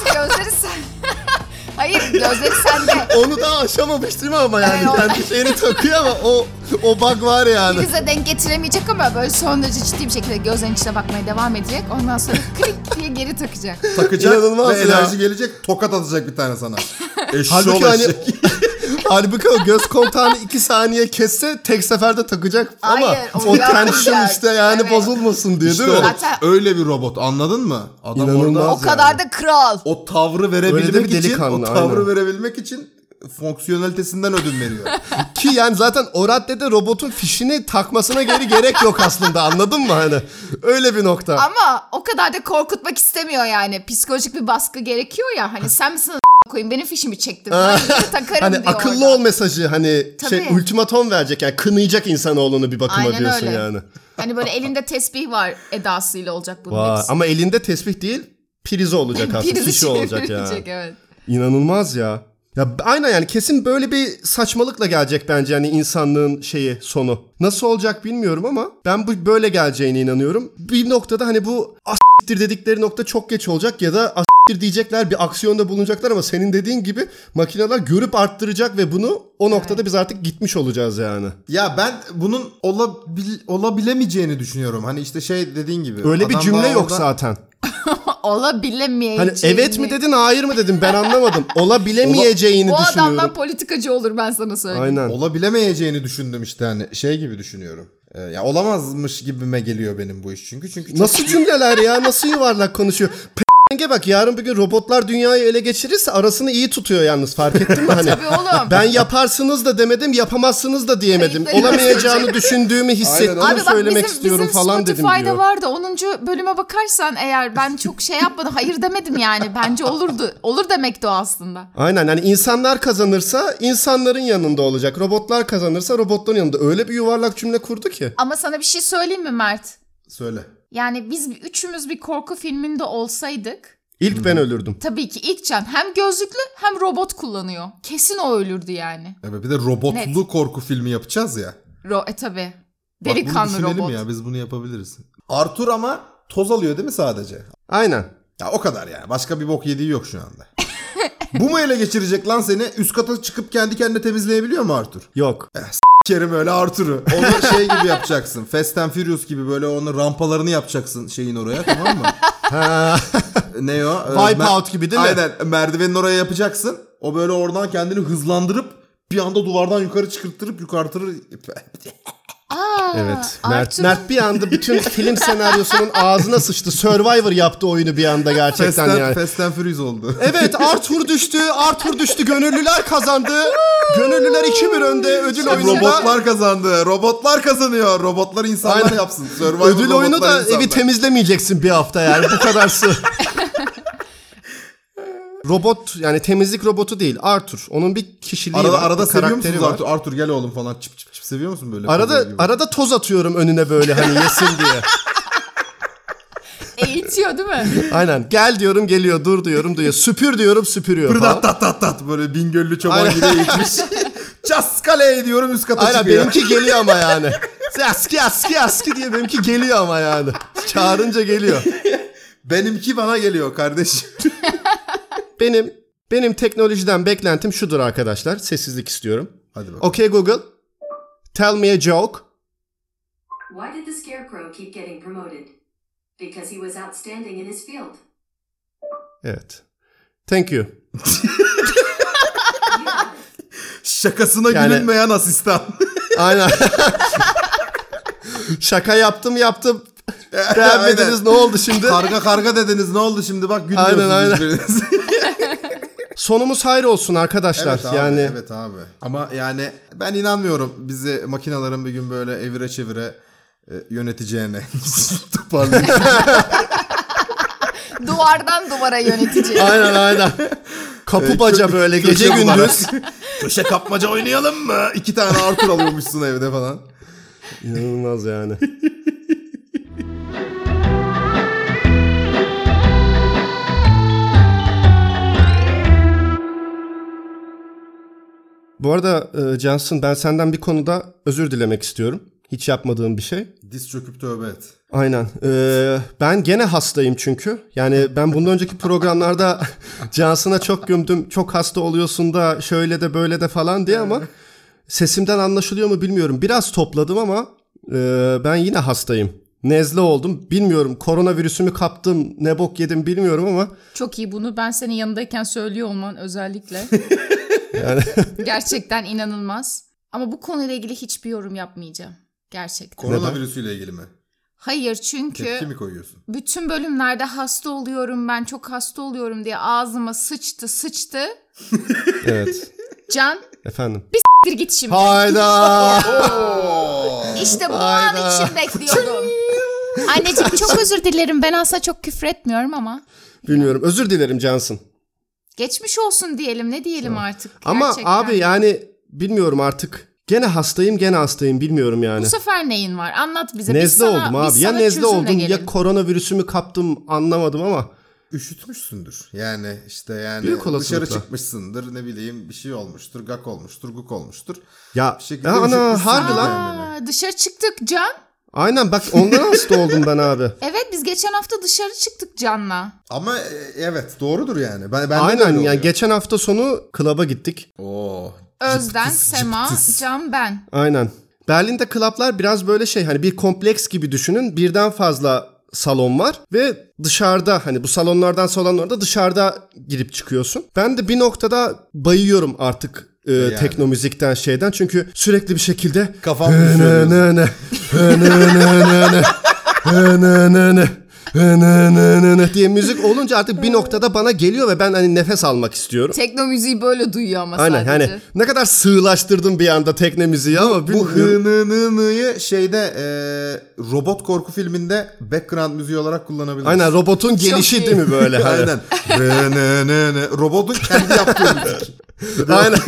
Speaker 3: gözleri sen... Hayır gözleri sende.
Speaker 1: onu daha aşamamıştım ama yani
Speaker 3: Evet.
Speaker 1: kendi şeyini takıyor ama o o bug var yani.
Speaker 3: Prize denk getiremeyecek ama böyle son derece ciddi bir şekilde gözlerin içine bakmaya devam edecek. Ondan sonra klik diye geri takacak.
Speaker 2: Takacak
Speaker 1: İnanılmaz
Speaker 2: ve
Speaker 1: ya.
Speaker 2: enerji gelecek tokat atacak bir tane sana. Eşşol
Speaker 1: Halbuki hani
Speaker 2: eşek.
Speaker 1: halbuki o göz kontağını iki saniye kesse tek seferde takacak ama
Speaker 3: Hayır, o
Speaker 1: o
Speaker 3: yapmayacak.
Speaker 1: tension işte yani
Speaker 3: Evet.
Speaker 1: bozulmasın diye
Speaker 2: İşte
Speaker 1: değil mi?
Speaker 2: o,
Speaker 3: Zaten-
Speaker 2: öyle bir robot anladın mı? Adam
Speaker 1: İnanılmaz.
Speaker 2: orada
Speaker 3: O kadar da kral.
Speaker 2: o tavrı
Speaker 1: Öyle de
Speaker 2: verebilmek
Speaker 1: bir
Speaker 2: için o
Speaker 1: delikanlı,
Speaker 2: tavrı
Speaker 1: aynen.
Speaker 2: verebilmek için fonksiyonelitesinden ödün veriyor.
Speaker 1: Ki yani zaten o raddede robotun fişini takmasına geri gerek yok aslında anladın mı hani? Öyle bir nokta.
Speaker 3: Ama o kadar da korkutmak istemiyor yani. Psikolojik bir baskı gerekiyor ya. Hani sen misin a- koyun benim fişimi çektin. Ben yine takarım
Speaker 1: hani
Speaker 3: diyor
Speaker 1: akıllı
Speaker 3: orada.
Speaker 1: ol mesajı hani şey
Speaker 3: Tabii.
Speaker 1: ultimatom verecek yani kınayacak insanoğlunu bir bakıma
Speaker 3: Aynen
Speaker 1: diyorsun
Speaker 3: öyle.
Speaker 1: yani.
Speaker 3: Hani böyle elinde tesbih var edasıyla olacak bunun
Speaker 1: Vay,
Speaker 3: hepsi.
Speaker 1: ama elinde tesbih değil prizi olacak aslında
Speaker 3: Prizi
Speaker 1: fişi olacak ya.
Speaker 3: çevirecek, evet.
Speaker 1: İnanılmaz ya. Ya b- aynen yani kesin böyle bir saçmalıkla gelecek bence hani insanlığın şeyi sonu. Nasıl olacak bilmiyorum ama ben bu böyle geleceğine inanıyorum. Bir noktada hani bu asiktir dedikleri nokta çok geç olacak ya da asiktir diyecekler bir aksiyonda bulunacaklar ama senin dediğin gibi makineler görüp arttıracak ve bunu o noktada biz artık gitmiş olacağız yani.
Speaker 2: ya ben bunun olabil, olabilemeyeceğini düşünüyorum. Hani işte şey dediğin gibi.
Speaker 1: Öyle bir
Speaker 2: adam
Speaker 1: cümle
Speaker 2: daha
Speaker 1: yok
Speaker 2: orada-
Speaker 1: zaten. Hani
Speaker 3: Olabilemeyeceğini.
Speaker 1: evet mi dedin hayır mı dedin ben anlamadım. Olabilemeyeceğini
Speaker 3: O
Speaker 1: düşünüyorum.
Speaker 3: adamdan politikacı olur ben sana söyleyeyim.
Speaker 1: Aynen.
Speaker 2: Olabilemeyeceğini düşündüm işte hani şey gibi düşünüyorum. Ee, ya olamazmış gibime geliyor benim bu iş çünkü. Çünkü çok-
Speaker 1: Nasıl cümleler ya? Nasıl yuvarlak konuşuyor? P***nge bak yarın bir gün robotlar dünyayı ele geçirirse arasını iyi tutuyor yalnız fark ettin mi hani?
Speaker 3: Tabii oğlum.
Speaker 1: Ben yaparsınız da demedim, yapamazsınız da diyemedim.
Speaker 3: Kayıtları
Speaker 1: Olamayacağını düşündüğümü hissettiğimi
Speaker 2: Aynen.
Speaker 3: Abi bak
Speaker 1: söylemek
Speaker 3: bizim,
Speaker 1: istiyorum
Speaker 3: bizim
Speaker 1: falan dedim
Speaker 3: Spotify'da
Speaker 1: diyor.
Speaker 3: vardı 10. bölüme bakarsan eğer ben çok şey yapmadım hayır demedim yani bence olurdu olur demekti o aslında.
Speaker 1: Aynen yani insanlar kazanırsa insanların yanında olacak. Robotlar kazanırsa robotların yanında. Öyle bir yuvarlak cümle kurdu ki.
Speaker 3: Ama sana bir şey söyleyeyim mi Mert?
Speaker 2: Söyle.
Speaker 3: Yani biz üçümüz bir korku filminde olsaydık
Speaker 1: İlk ben ölürdüm.
Speaker 3: tabii ki ilk can hem gözlüklü hem robot kullanıyor. Kesin o ölürdü yani.
Speaker 2: Evet, bir de robotlu
Speaker 3: Net.
Speaker 2: korku filmi yapacağız ya.
Speaker 3: Ro e tabii.
Speaker 2: Bak bunu
Speaker 3: Delikanlı
Speaker 2: düşünelim
Speaker 3: robot.
Speaker 2: ya biz bunu yapabiliriz. Arthur ama toz alıyor değil mi sadece?
Speaker 1: Aynen.
Speaker 2: Ya o kadar yani. Başka bir bok yediği yok şu anda. Bu mu ele geçirecek lan seni? Üst kata çıkıp kendi kendine temizleyebiliyor mu Arthur?
Speaker 1: Yok.
Speaker 2: Kerim öyle Arthur'u. Onu şey gibi yapacaksın. Fast and Furious gibi böyle onun rampalarını yapacaksın şeyin oraya tamam mı?
Speaker 1: Ha.
Speaker 2: ne o? Ee,
Speaker 1: Wipeout
Speaker 2: mer-
Speaker 1: gibi değil mi?
Speaker 2: Aynen. Merdivenin oraya yapacaksın. O böyle oradan kendini hızlandırıp bir anda duvardan yukarı çıkarttırıp yukarı
Speaker 3: Aa,
Speaker 1: Evet. Mert,
Speaker 3: Arthur'un-
Speaker 1: Mert bir anda bütün film senaryosunun ağzına sıçtı. Survivor yaptı oyunu bir anda
Speaker 2: Fast,
Speaker 1: gerçekten
Speaker 2: and-
Speaker 1: yani. E,
Speaker 2: Fast and Furious oldu.
Speaker 1: Evet Arthur düştü, Arthur düştü. Gönüllüler kazandı. Gönüllüler 2-1 önde ödül oyununda.
Speaker 2: Robotlar kazandı. Robotlar kazanıyor. Robotlar insanlar
Speaker 1: Aynen.
Speaker 2: yapsın. Survivor
Speaker 1: ödül oyunu da
Speaker 2: robotlar insanlar.
Speaker 1: evi temizlemeyeceksin bir hafta yani bu kadarsı. Robot yani temizlik robotu değil Arthur. Onun bir kişiliği
Speaker 2: Arada,
Speaker 1: var,
Speaker 2: arada
Speaker 1: bir
Speaker 2: seviyor
Speaker 1: karakteri
Speaker 2: musunuz
Speaker 1: var.
Speaker 2: Arthur? Arthur gel oğlum falan çıp çıp çıp seviyor musun böyle?
Speaker 1: Arada
Speaker 2: kızlar gibi?
Speaker 1: arada toz atıyorum önüne böyle hani yesin diye.
Speaker 3: eğitiyor değil mi?
Speaker 1: Aynen. Gel diyorum geliyor, dur diyorum diyor. Süpür diyorum süpürüyor falan.
Speaker 2: Pırdat tat tat tat böyle Bingöllü çoban
Speaker 1: Aynen.
Speaker 2: gibi eğitmiş. Çaskaleye diyorum üst kata
Speaker 1: Aynen
Speaker 2: çıkıyor.
Speaker 1: benimki geliyor ama yani. Aski aski aski diye benimki geliyor ama yani. Çağırınca geliyor.
Speaker 2: Benimki bana geliyor kardeşim.
Speaker 1: Benim Benim teknolojiden beklentim şudur arkadaşlar. Sessizlik istiyorum.
Speaker 2: Hadi bakalım.
Speaker 1: Okay Google. Tell me a joke.
Speaker 4: Why did the scarecrow keep getting promoted? Because he was outstanding in his field.
Speaker 1: Evet. Thank you.
Speaker 2: Şakasına
Speaker 1: Yani-
Speaker 2: gülünmeyen asistan.
Speaker 1: Aynen. Şaka yaptım yaptım. Beğenmediniz
Speaker 2: Aynen.
Speaker 1: ne oldu şimdi?
Speaker 2: karga karga dediniz ne oldu şimdi bak gülüyorsunuz
Speaker 1: Aynen, aynen.
Speaker 2: birbirinize.
Speaker 1: Sonumuz hayır olsun arkadaşlar.
Speaker 2: evet abi,
Speaker 1: yani
Speaker 2: evet abi. Ama yani ben inanmıyorum bizi makinelerin bir gün böyle evire çevire e, yöneteceğine. Toparlayayım.
Speaker 3: Duvardan duvara yönetici.
Speaker 1: aynen aynen.
Speaker 2: Ee,
Speaker 1: Kapı baca böyle gece
Speaker 2: Köşe bunlara.
Speaker 1: gündüz.
Speaker 2: Köşe kapmaca oynayalım mı? İki tane Arthur alıyormuşsun evde falan.
Speaker 1: İnanılmaz yani. Bu arada e, Johnson ben senden bir konuda özür dilemek istiyorum. Hiç yapmadığım bir şey.
Speaker 2: Diz çöküp tövbe et.
Speaker 1: Aynen. Ee, ben gene hastayım çünkü. Yani ben bundan önceki programlarda Cansın'a çok gömdüm. Çok hasta oluyorsun da şöyle de böyle de falan diye ama sesimden anlaşılıyor mu bilmiyorum. Biraz topladım ama e, ben yine hastayım. Nezle oldum. Bilmiyorum koronavirüsümü kaptım, ne bok yedim bilmiyorum ama
Speaker 3: Çok iyi bunu ben senin yanındayken söylüyor olman özellikle. Gerçekten inanılmaz. Ama bu konuyla ilgili hiçbir yorum yapmayacağım. Gerçekten.
Speaker 2: Koronavirüsüyle ilgili mi?
Speaker 3: Hayır çünkü...
Speaker 2: Tepki mi koyuyorsun?
Speaker 3: bütün bölümlerde hasta oluyorum ben çok hasta oluyorum diye ağzıma sıçtı sıçtı.
Speaker 1: evet.
Speaker 3: Can
Speaker 1: Efendim.
Speaker 3: bir git şimdi.
Speaker 1: Hayda!
Speaker 3: işte bu an
Speaker 1: Hayda.
Speaker 3: için bekliyordum. Anneciğim çok özür dilerim ben aslında çok küfür etmiyorum ama.
Speaker 1: Bilmiyorum. Özür dilerim Cansın.
Speaker 3: Geçmiş olsun diyelim ne diyelim artık.
Speaker 1: Ama
Speaker 3: gerçekten.
Speaker 1: abi yani bilmiyorum artık. Gene hastayım, gene hastayım bilmiyorum yani.
Speaker 3: Bu sefer neyin var anlat bize. Biz
Speaker 1: Hani- Nezle
Speaker 3: sana-
Speaker 1: oldum
Speaker 3: biz
Speaker 1: abi. Ya
Speaker 3: sana
Speaker 1: nezle
Speaker 3: çözümle
Speaker 1: oldum ya
Speaker 3: gelelim.
Speaker 1: koronavirüsümü kaptım anlamadım ama
Speaker 2: Üşütmüşsündür. Yani işte yani
Speaker 1: Büyük olasılıkla.
Speaker 2: dışarı çıkmışsındır ne bileyim bir şey olmuştur gak olmuştur guk olmuştur.
Speaker 1: ya,
Speaker 2: Bir şekilde
Speaker 1: ya ana
Speaker 2: üşütmüşsündür
Speaker 1: harbi lan.
Speaker 2: yani.
Speaker 3: Aa, dışarı çıktık Can.
Speaker 1: Aynen bak ondan hasta oldum ben abi.
Speaker 3: Evet biz geçen hafta dışarı çıktık Can'la.
Speaker 2: Ama e, evet doğrudur yani. Ben, ben
Speaker 1: Aynen yani geçen hafta sonu klaba gittik.
Speaker 2: Oo.
Speaker 3: Özden,
Speaker 2: Cıptıs,
Speaker 3: Sema,
Speaker 2: cıptıs.
Speaker 3: Can ben.
Speaker 1: Aynen. Berlin'de klaplar biraz böyle şey hani bir kompleks gibi düşünün. Birden fazla salon var ve dışarıda hani bu salonlardan salonlarda dışarıda girip çıkıyorsun. Ben de bir noktada bayıyorum artık e,
Speaker 2: Yani.
Speaker 1: teknomüzikten şeyden çünkü sürekli bir şekilde
Speaker 2: Kafam
Speaker 1: ne
Speaker 2: düşüyor.
Speaker 1: ne ne ne ne ne ne ne ne ne ne ne ne ne diye müzik olunca artık bir noktada bana geliyor ve ben hani nefes almak istiyorum.
Speaker 3: Tekno müziği böyle duyuyor ama
Speaker 1: Aynen hani-
Speaker 3: sadece.
Speaker 1: yani ne kadar sığlaştırdım bir anda tekne müziği ama
Speaker 2: Bu
Speaker 1: bilmiyorum.
Speaker 2: hınınınıyı şeyde e, robot korku filminde background müziği olarak kullanabiliriz.
Speaker 1: Aynen robotun gelişi
Speaker 3: iyi.
Speaker 1: değil mi böyle? Hani?
Speaker 2: Aynen. Re, ne, ne, ne. Robotun kendi yaptığı müzik.
Speaker 1: Aynen.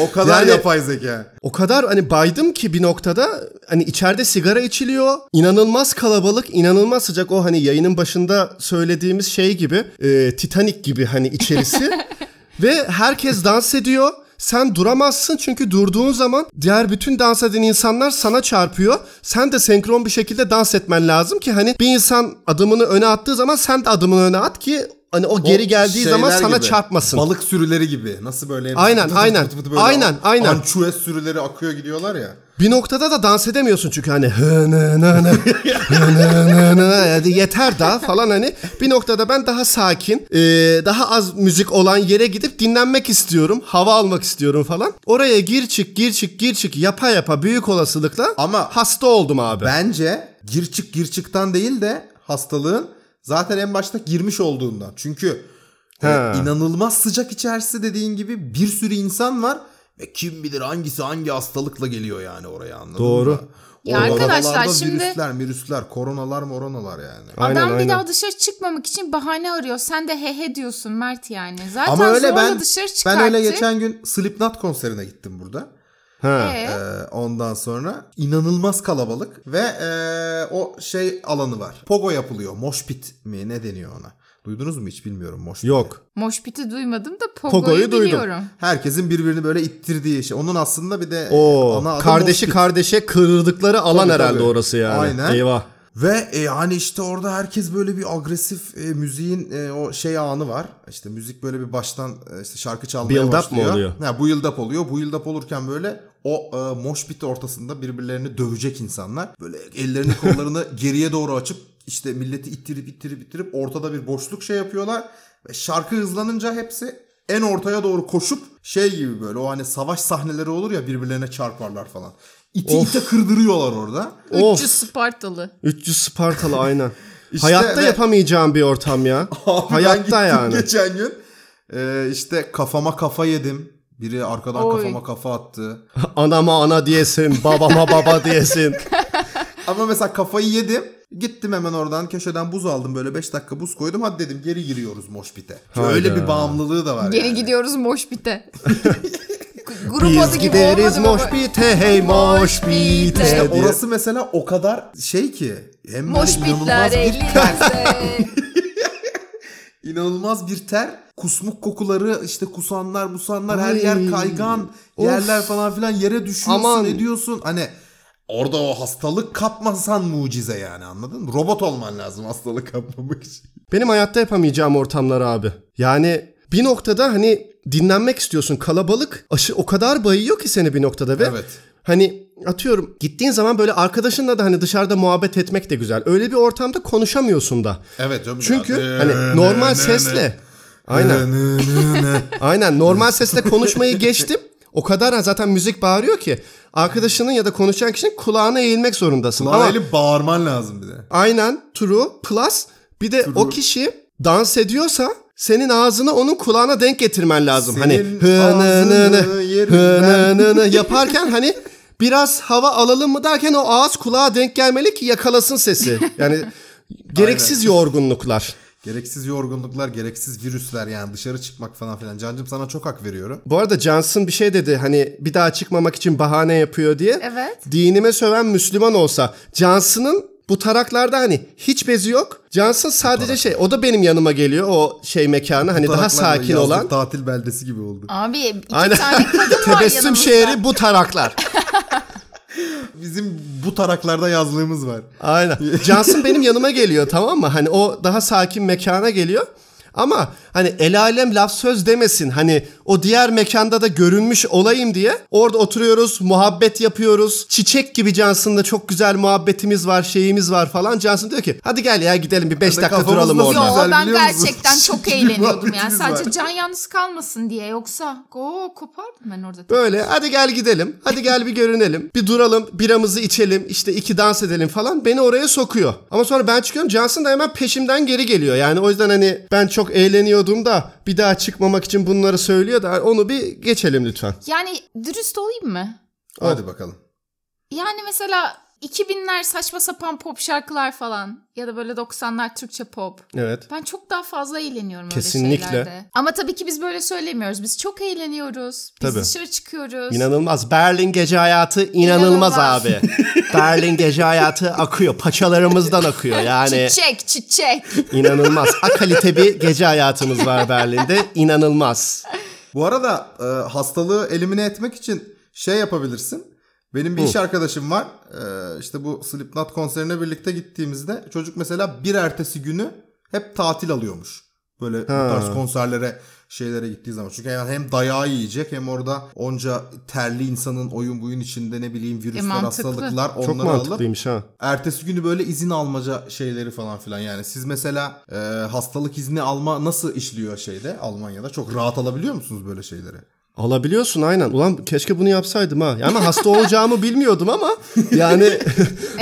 Speaker 2: O kadar
Speaker 1: Yani-
Speaker 2: yapay zeka.
Speaker 1: O kadar hani baydım ki bir noktada hani içeride sigara içiliyor. inanılmaz kalabalık, inanılmaz sıcak. O hani yayının başında söylediğimiz şey gibi, e, Titanic gibi hani içerisi. Ve herkes dans ediyor. Sen duramazsın çünkü durduğun zaman diğer bütün dans eden insanlar sana çarpıyor. Sen de senkron bir şekilde dans etmen lazım ki hani bir insan adımını öne attığı zaman sen de adımını öne at ki hani o geri geldiği
Speaker 2: şeyler
Speaker 1: zaman sana
Speaker 2: gibi.
Speaker 1: çarpmasın.
Speaker 2: Balık sürüleri gibi. Nasıl böyle?
Speaker 1: Aynen, aynen. Aynen, aynen.
Speaker 2: Ançuez sürüleri akıyor gidiyorlar ya.
Speaker 1: Bir noktada da dans edemiyorsun çünkü hani hı nı nı nı, hı nı nı nı, hadi yeter daha falan hani bir noktada ben daha sakin e, daha az müzik olan yere gidip dinlenmek istiyorum hava almak istiyorum falan oraya gir çık gir çık gir çık yapa yapa büyük olasılıkla
Speaker 2: Ama-
Speaker 1: hasta oldum abi.
Speaker 2: Bence gir çık gir çıktan değil de hastalığın zaten en başta girmiş olduğundan. Çünkü e,
Speaker 1: He.
Speaker 2: inanılmaz sıcak içerisi dediğin gibi bir sürü insan var ve kim bilir hangisi hangi hastalıkla geliyor yani oraya anladın
Speaker 1: Doğru.
Speaker 2: mı?
Speaker 3: Ya
Speaker 2: Oralarda
Speaker 3: arkadaşlar şimdi-
Speaker 2: virüsler, virüsler, koronalar, moronalar yani.
Speaker 1: Aynen,
Speaker 3: Adam bir
Speaker 1: aynen.
Speaker 3: daha dışarı çıkmamak için bahane arıyor. Sen de he he diyorsun Mert yani. Zaten
Speaker 2: Ama öyle
Speaker 3: zorla
Speaker 2: ben
Speaker 3: dışarı
Speaker 2: ben
Speaker 3: çıkarttı.
Speaker 2: öyle geçen gün Slipknot konserine gittim burada.
Speaker 1: Ha.
Speaker 3: Ee,
Speaker 2: Ee, ondan sonra inanılmaz kalabalık ve ee, o şey alanı var. Pogo yapılıyor. Mosh pit mi ne deniyor ona? Duydunuz mu hiç bilmiyorum mosh pit'i.
Speaker 1: Yok.
Speaker 3: Moşpit'i duymadım da Pogo'yu,
Speaker 1: Pogo'yu duydum.
Speaker 3: biliyorum.
Speaker 2: Herkesin birbirini böyle ittirdiği şey. Onun aslında bir de
Speaker 1: O
Speaker 2: ana adı
Speaker 1: kardeşi
Speaker 2: mosh pit.
Speaker 1: kardeşe kırdıkları alan
Speaker 2: Tabii,
Speaker 1: herhalde
Speaker 2: tabii.
Speaker 1: orası yani.
Speaker 2: Aynen.
Speaker 1: Eyvah.
Speaker 2: Ve e, hani işte orada herkes böyle bir agresif e, müziğin e, o şey anı var. İşte müzik böyle bir baştan e, işte şarkı çalmaya
Speaker 1: Build up mı
Speaker 2: başlıyor.
Speaker 1: oluyor?
Speaker 2: Ha, bu yılda oluyor. Bu yılda olurken böyle o e, mosh pit ortasında birbirlerini dövecek insanlar. Böyle ellerini kollarını geriye doğru açıp işte milleti ittirip ittirip ittirip ortada bir boşluk şey yapıyorlar. Ve şarkı hızlanınca hepsi en ortaya doğru koşup şey gibi böyle o hani savaş sahneleri olur ya birbirlerine çarparlar falan. İti
Speaker 1: Of.
Speaker 2: ite kırdırıyorlar orada.
Speaker 1: Of.
Speaker 3: 300 Spartalı.
Speaker 1: 300 Spartalı aynen.
Speaker 2: İşte
Speaker 1: Hayatta
Speaker 2: ve-
Speaker 1: yapamayacağım bir ortam ya.
Speaker 2: Abi ben gittim
Speaker 1: Hayatta yani.
Speaker 2: geçen gün. Ee, işte kafama kafa yedim. Biri arkadan
Speaker 3: Oy.
Speaker 2: kafama kafa attı.
Speaker 1: Anama ana diyesin, babama baba diyesin.
Speaker 2: Ama mesela kafayı yedim. Gittim hemen oradan köşeden buz aldım böyle 5 dakika buz koydum. Hadi dedim geri giriyoruz moşpite.
Speaker 1: Hayda.
Speaker 2: Öyle bir bağımlılığı da var
Speaker 3: Geri
Speaker 2: yani.
Speaker 3: gidiyoruz Moşbit'e. Grup adı
Speaker 1: Biz
Speaker 3: gibi
Speaker 1: gideriz
Speaker 3: olmadı mı? bu?
Speaker 1: moşbite hey moşbite
Speaker 3: İşte
Speaker 1: diye.
Speaker 2: Orası mesela o kadar şey ki hem böyle
Speaker 3: Moşbitler
Speaker 2: inanılmaz bir
Speaker 3: elinize.
Speaker 2: inanılmaz bir ter, kusmuk kokuları, işte kusanlar, musanlar, her
Speaker 1: Ay.
Speaker 2: yer kaygan,
Speaker 1: Of.
Speaker 2: yerler falan filan yere düşüyorsun,
Speaker 1: Aman.
Speaker 2: ediyorsun. Hani orada o hastalık kapmasan mucize yani anladın mı? Robot olman lazım hastalık kapmamak için.
Speaker 1: Benim hayatta yapamayacağım ortamlar abi. Yani bir noktada hani dinlenmek istiyorsun. Kalabalık aşı o kadar bayıyor ki seni bir noktada ve
Speaker 2: Evet.
Speaker 1: hani atıyorum gittiğin zaman böyle arkadaşınla da hani dışarıda muhabbet etmek de güzel. Öyle bir ortamda konuşamıyorsun da.
Speaker 2: Evet. canım
Speaker 1: Çünkü
Speaker 2: ya.
Speaker 1: hani normal sesle aynen aynen normal sesle konuşmayı geçtim. O kadar zaten müzik bağırıyor ki arkadaşının ya da konuşan kişinin kulağına eğilmek zorundasın.
Speaker 2: Kulağına
Speaker 1: Ama-
Speaker 2: eğilip bağırman lazım bir de.
Speaker 1: Aynen true plus bir de o kişi dans ediyorsa senin ağzını onun kulağına denk getirmen lazım.
Speaker 2: Senin
Speaker 1: hani hınınını
Speaker 2: ağzını yerinden-
Speaker 1: hınınını yaparken hani biraz hava alalım mı derken o ağız kulağa denk gelmeli ki yakalasın sesi. Yani gereksiz yorgunluklar.
Speaker 2: Gereksiz yorgunluklar, gereksiz virüsler yani dışarı çıkmak falan filan. Cancım sana çok hak veriyorum.
Speaker 1: Bu arada Johnson bir şey dedi hani bir daha çıkmamak için bahane yapıyor diye.
Speaker 3: Evet.
Speaker 1: Dinime söven Müslüman olsa Johnson'ın bu taraklarda hani hiç bezi yok. Johnson sadece şey o da benim yanıma geliyor o şey mekanı hani daha
Speaker 2: Taraklarla
Speaker 1: sakin
Speaker 2: yazlık
Speaker 1: olan.
Speaker 2: Tatil beldesi gibi oldu.
Speaker 3: Abi iki
Speaker 1: Aynen.
Speaker 3: tane kadın var yanımızda.
Speaker 1: Tebessüm şehri bu taraklar.
Speaker 2: Bizim bu taraklarda yazlığımız var.
Speaker 1: Aynen. Johnson benim yanıma geliyor tamam mı? Hani o daha sakin mekana geliyor. Ama hani el alem laf söz demesin. Hani o diğer mekanda da görünmüş olayım diye. Orada oturuyoruz, muhabbet yapıyoruz. Çiçek gibi Johnson'la çok güzel muhabbetimiz var, şeyimiz var falan. Johnson diyor ki hadi gel ya gidelim bir 5
Speaker 2: Hadi
Speaker 1: dakika
Speaker 2: kafamız
Speaker 1: duralım
Speaker 2: nasıl
Speaker 1: orada.
Speaker 2: güzel
Speaker 3: Yo ben
Speaker 2: biliyor musun?
Speaker 3: gerçekten çok
Speaker 2: Çünkü
Speaker 3: eğleniyordum yani.
Speaker 2: muhabbetimiz
Speaker 3: Sadece
Speaker 2: var.
Speaker 3: can yalnız kalmasın diye. Yoksa o kopardım ben orada.
Speaker 1: Böyle hadi gel gidelim. Hadi gel bir görünelim. Bir duralım. Biramızı içelim. işte iki dans edelim falan. Beni oraya sokuyor. Ama sonra ben çıkıyorum. Johnson da hemen peşimden geri geliyor. Yani o yüzden hani ben çok eğleniyordum da bir daha çıkmamak için bunları söylüyor da onu bir geçelim lütfen.
Speaker 3: Yani dürüst olayım mı?
Speaker 2: Hadi bakalım.
Speaker 3: Yani mesela 2000'ler saçma sapan pop şarkılar falan ya da böyle 90'lar Türkçe pop.
Speaker 1: Evet.
Speaker 3: Ben çok daha fazla eğleniyorum
Speaker 1: Kesinlikle.
Speaker 3: öyle şeylerde. Ama tabii ki biz böyle söylemiyoruz. Biz çok eğleniyoruz. Biz
Speaker 1: Tabii.
Speaker 3: dışarı çıkıyoruz.
Speaker 1: İnanılmaz. Berlin gece hayatı inanılmaz,
Speaker 3: İnanılmaz.
Speaker 1: abi. Berlin gece hayatı akıyor. Paçalarımızdan akıyor. Yani
Speaker 3: Çiçek çiçek.
Speaker 1: inanılmaz. Akalite bir gece hayatımız var Berlin'de. İnanılmaz.
Speaker 2: Bu arada e, hastalığı elimine etmek için şey yapabilirsin. Benim bir iş arkadaşım var. E, işte bu Slipknot konserine birlikte gittiğimizde çocuk mesela bir ertesi günü hep tatil alıyormuş. Böyle bu
Speaker 1: Ha.
Speaker 2: tarz konserlere şeylere gittiği zaman. Çünkü yani hem dayağı yiyecek hem orada onca terli insanın oyun buyun içinde ne bileyim virüsler,
Speaker 3: mantıklı.
Speaker 2: hastalıklar onları
Speaker 1: Çok
Speaker 2: alıp
Speaker 1: mantıklıymış ha.
Speaker 2: Ertesi günü böyle izin almaca şeyleri falan filan yani siz mesela e, hastalık izni alma nasıl işliyor şeyde Almanya'da çok rahat alabiliyor musunuz böyle şeyleri?
Speaker 1: Alabiliyorsun aynen. Ulan keşke bunu yapsaydım ha. Yani hasta olacağımı bilmiyordum ama yani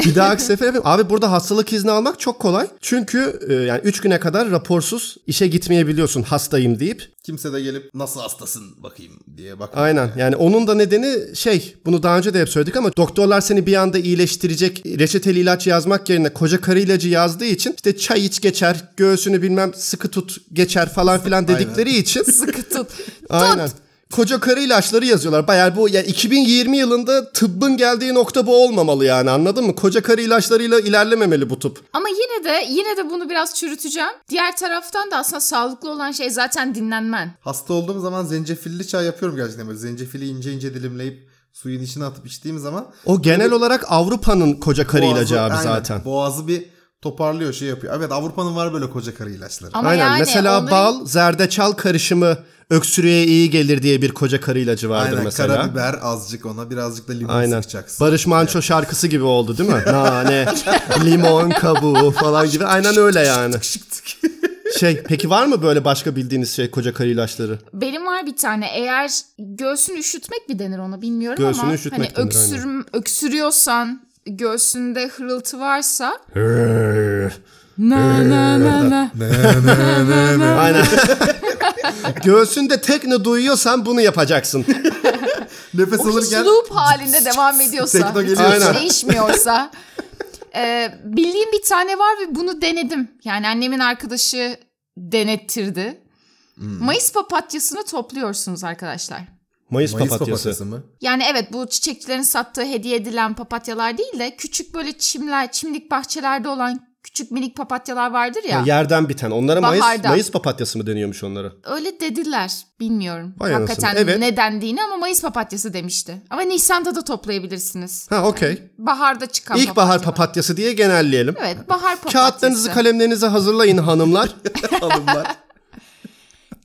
Speaker 1: bir dahaki sefer yapayım. Abi burada hastalık izni almak çok kolay. Çünkü e, yani 3 güne kadar raporsuz işe gitmeyebiliyorsun hastayım deyip.
Speaker 2: Kimse de gelip nasıl hastasın bakayım diye bak.
Speaker 1: Aynen. Yani onun da nedeni şey bunu daha önce de hep söyledik ama doktorlar seni bir anda iyileştirecek reçeteli ilaç yazmak yerine koca karı ilacı yazdığı için işte çay iç geçer, göğsünü bilmem sıkı tut geçer falan filan dedikleri için
Speaker 3: Sıkı tut.
Speaker 1: Aynen. Koca karı ilaçları yazıyorlar. Bayağı bu ya 2020 yılında tıbbın geldiği nokta bu olmamalı yani anladın mı? Koca karı ilaçlarıyla ilerlememeli bu tıp.
Speaker 3: Ama yine de yine de bunu biraz çürüteceğim. Diğer taraftan da aslında sağlıklı olan şey zaten dinlenmen.
Speaker 2: Hasta olduğum zaman zencefilli çay yapıyorum gerçekten böyle zencefili ince ince dilimleyip Suyun içine atıp içtiğim zaman
Speaker 1: O genel olarak Avrupa'nın koca karı
Speaker 2: boğazı-
Speaker 1: ilacı abi
Speaker 2: aynen,
Speaker 1: zaten.
Speaker 2: Boğazı bir toparlıyor şey yapıyor. Evet Avrupa'nın var böyle koca karı ilaçları.
Speaker 3: Ama
Speaker 1: Aynen.
Speaker 3: yani
Speaker 1: mesela
Speaker 3: onların-
Speaker 1: bal, zerdeçal karışımı öksürüğe iyi gelir diye bir koca karı ilacı vardır
Speaker 2: Aynen
Speaker 1: mesela.
Speaker 2: karabiber azıcık ona birazcık da limon
Speaker 1: Aynen.
Speaker 2: sıkacaksın.
Speaker 1: Barış Manço şarkısı gibi oldu değil mi? Nane, limon kabuğu falan gibi. Aynen öyle yani. Şey, peki var mı böyle başka bildiğiniz şey koca karı ilaçları?
Speaker 3: Benim var bir tane. Eğer göğsünü üşütmek mi denir ona bilmiyorum
Speaker 1: Göğsünü
Speaker 3: ama
Speaker 1: üşütmek
Speaker 3: hani
Speaker 1: denir, aynen.
Speaker 3: öksürüm öksürüyorsan göğsünde hırıltı varsa na na na na
Speaker 1: Aynen. Göğsünde tekne duyuyorsan bunu yapacaksın.
Speaker 2: Nefes
Speaker 3: o hiç
Speaker 2: alırken
Speaker 3: loop halinde devam ediyorsa
Speaker 2: Tekno
Speaker 3: hiç
Speaker 1: geliyorsa.
Speaker 3: değişmiyorsa e, bildiğim bir tane var ve bunu denedim. Yani annemin arkadaşı denettirdi.
Speaker 1: Hmm.
Speaker 3: Mayıs papatyasını topluyorsunuz arkadaşlar.
Speaker 1: Mayıs,
Speaker 2: Mayıs
Speaker 1: papatyası.
Speaker 2: papatyası mı?
Speaker 3: Yani evet bu çiçekçilerin sattığı hediye edilen papatyalar değil de küçük böyle çimler, çimlik bahçelerde olan küçük minik papatyalar vardır ya.
Speaker 1: Yerden biten. Onlara Mayıs,
Speaker 3: Baharda.
Speaker 1: Mayıs papatyası mı deniyormuş onlara?
Speaker 3: Öyle dediler. Bilmiyorum.
Speaker 1: Vay anasını.
Speaker 3: Hakikaten
Speaker 1: Evet.
Speaker 3: ne dendiğini ama Mayıs papatyası demişti. Ama Nisan'da da toplayabilirsiniz.
Speaker 1: Ha okey.
Speaker 3: Baharda çıkan
Speaker 1: İlkbahar
Speaker 3: papatyalar.
Speaker 1: papatyası diye genelleyelim.
Speaker 3: Evet bahar papatyası.
Speaker 1: Kağıtlarınızı kalemlerinizi hazırlayın hanımlar.
Speaker 2: Hanımlar.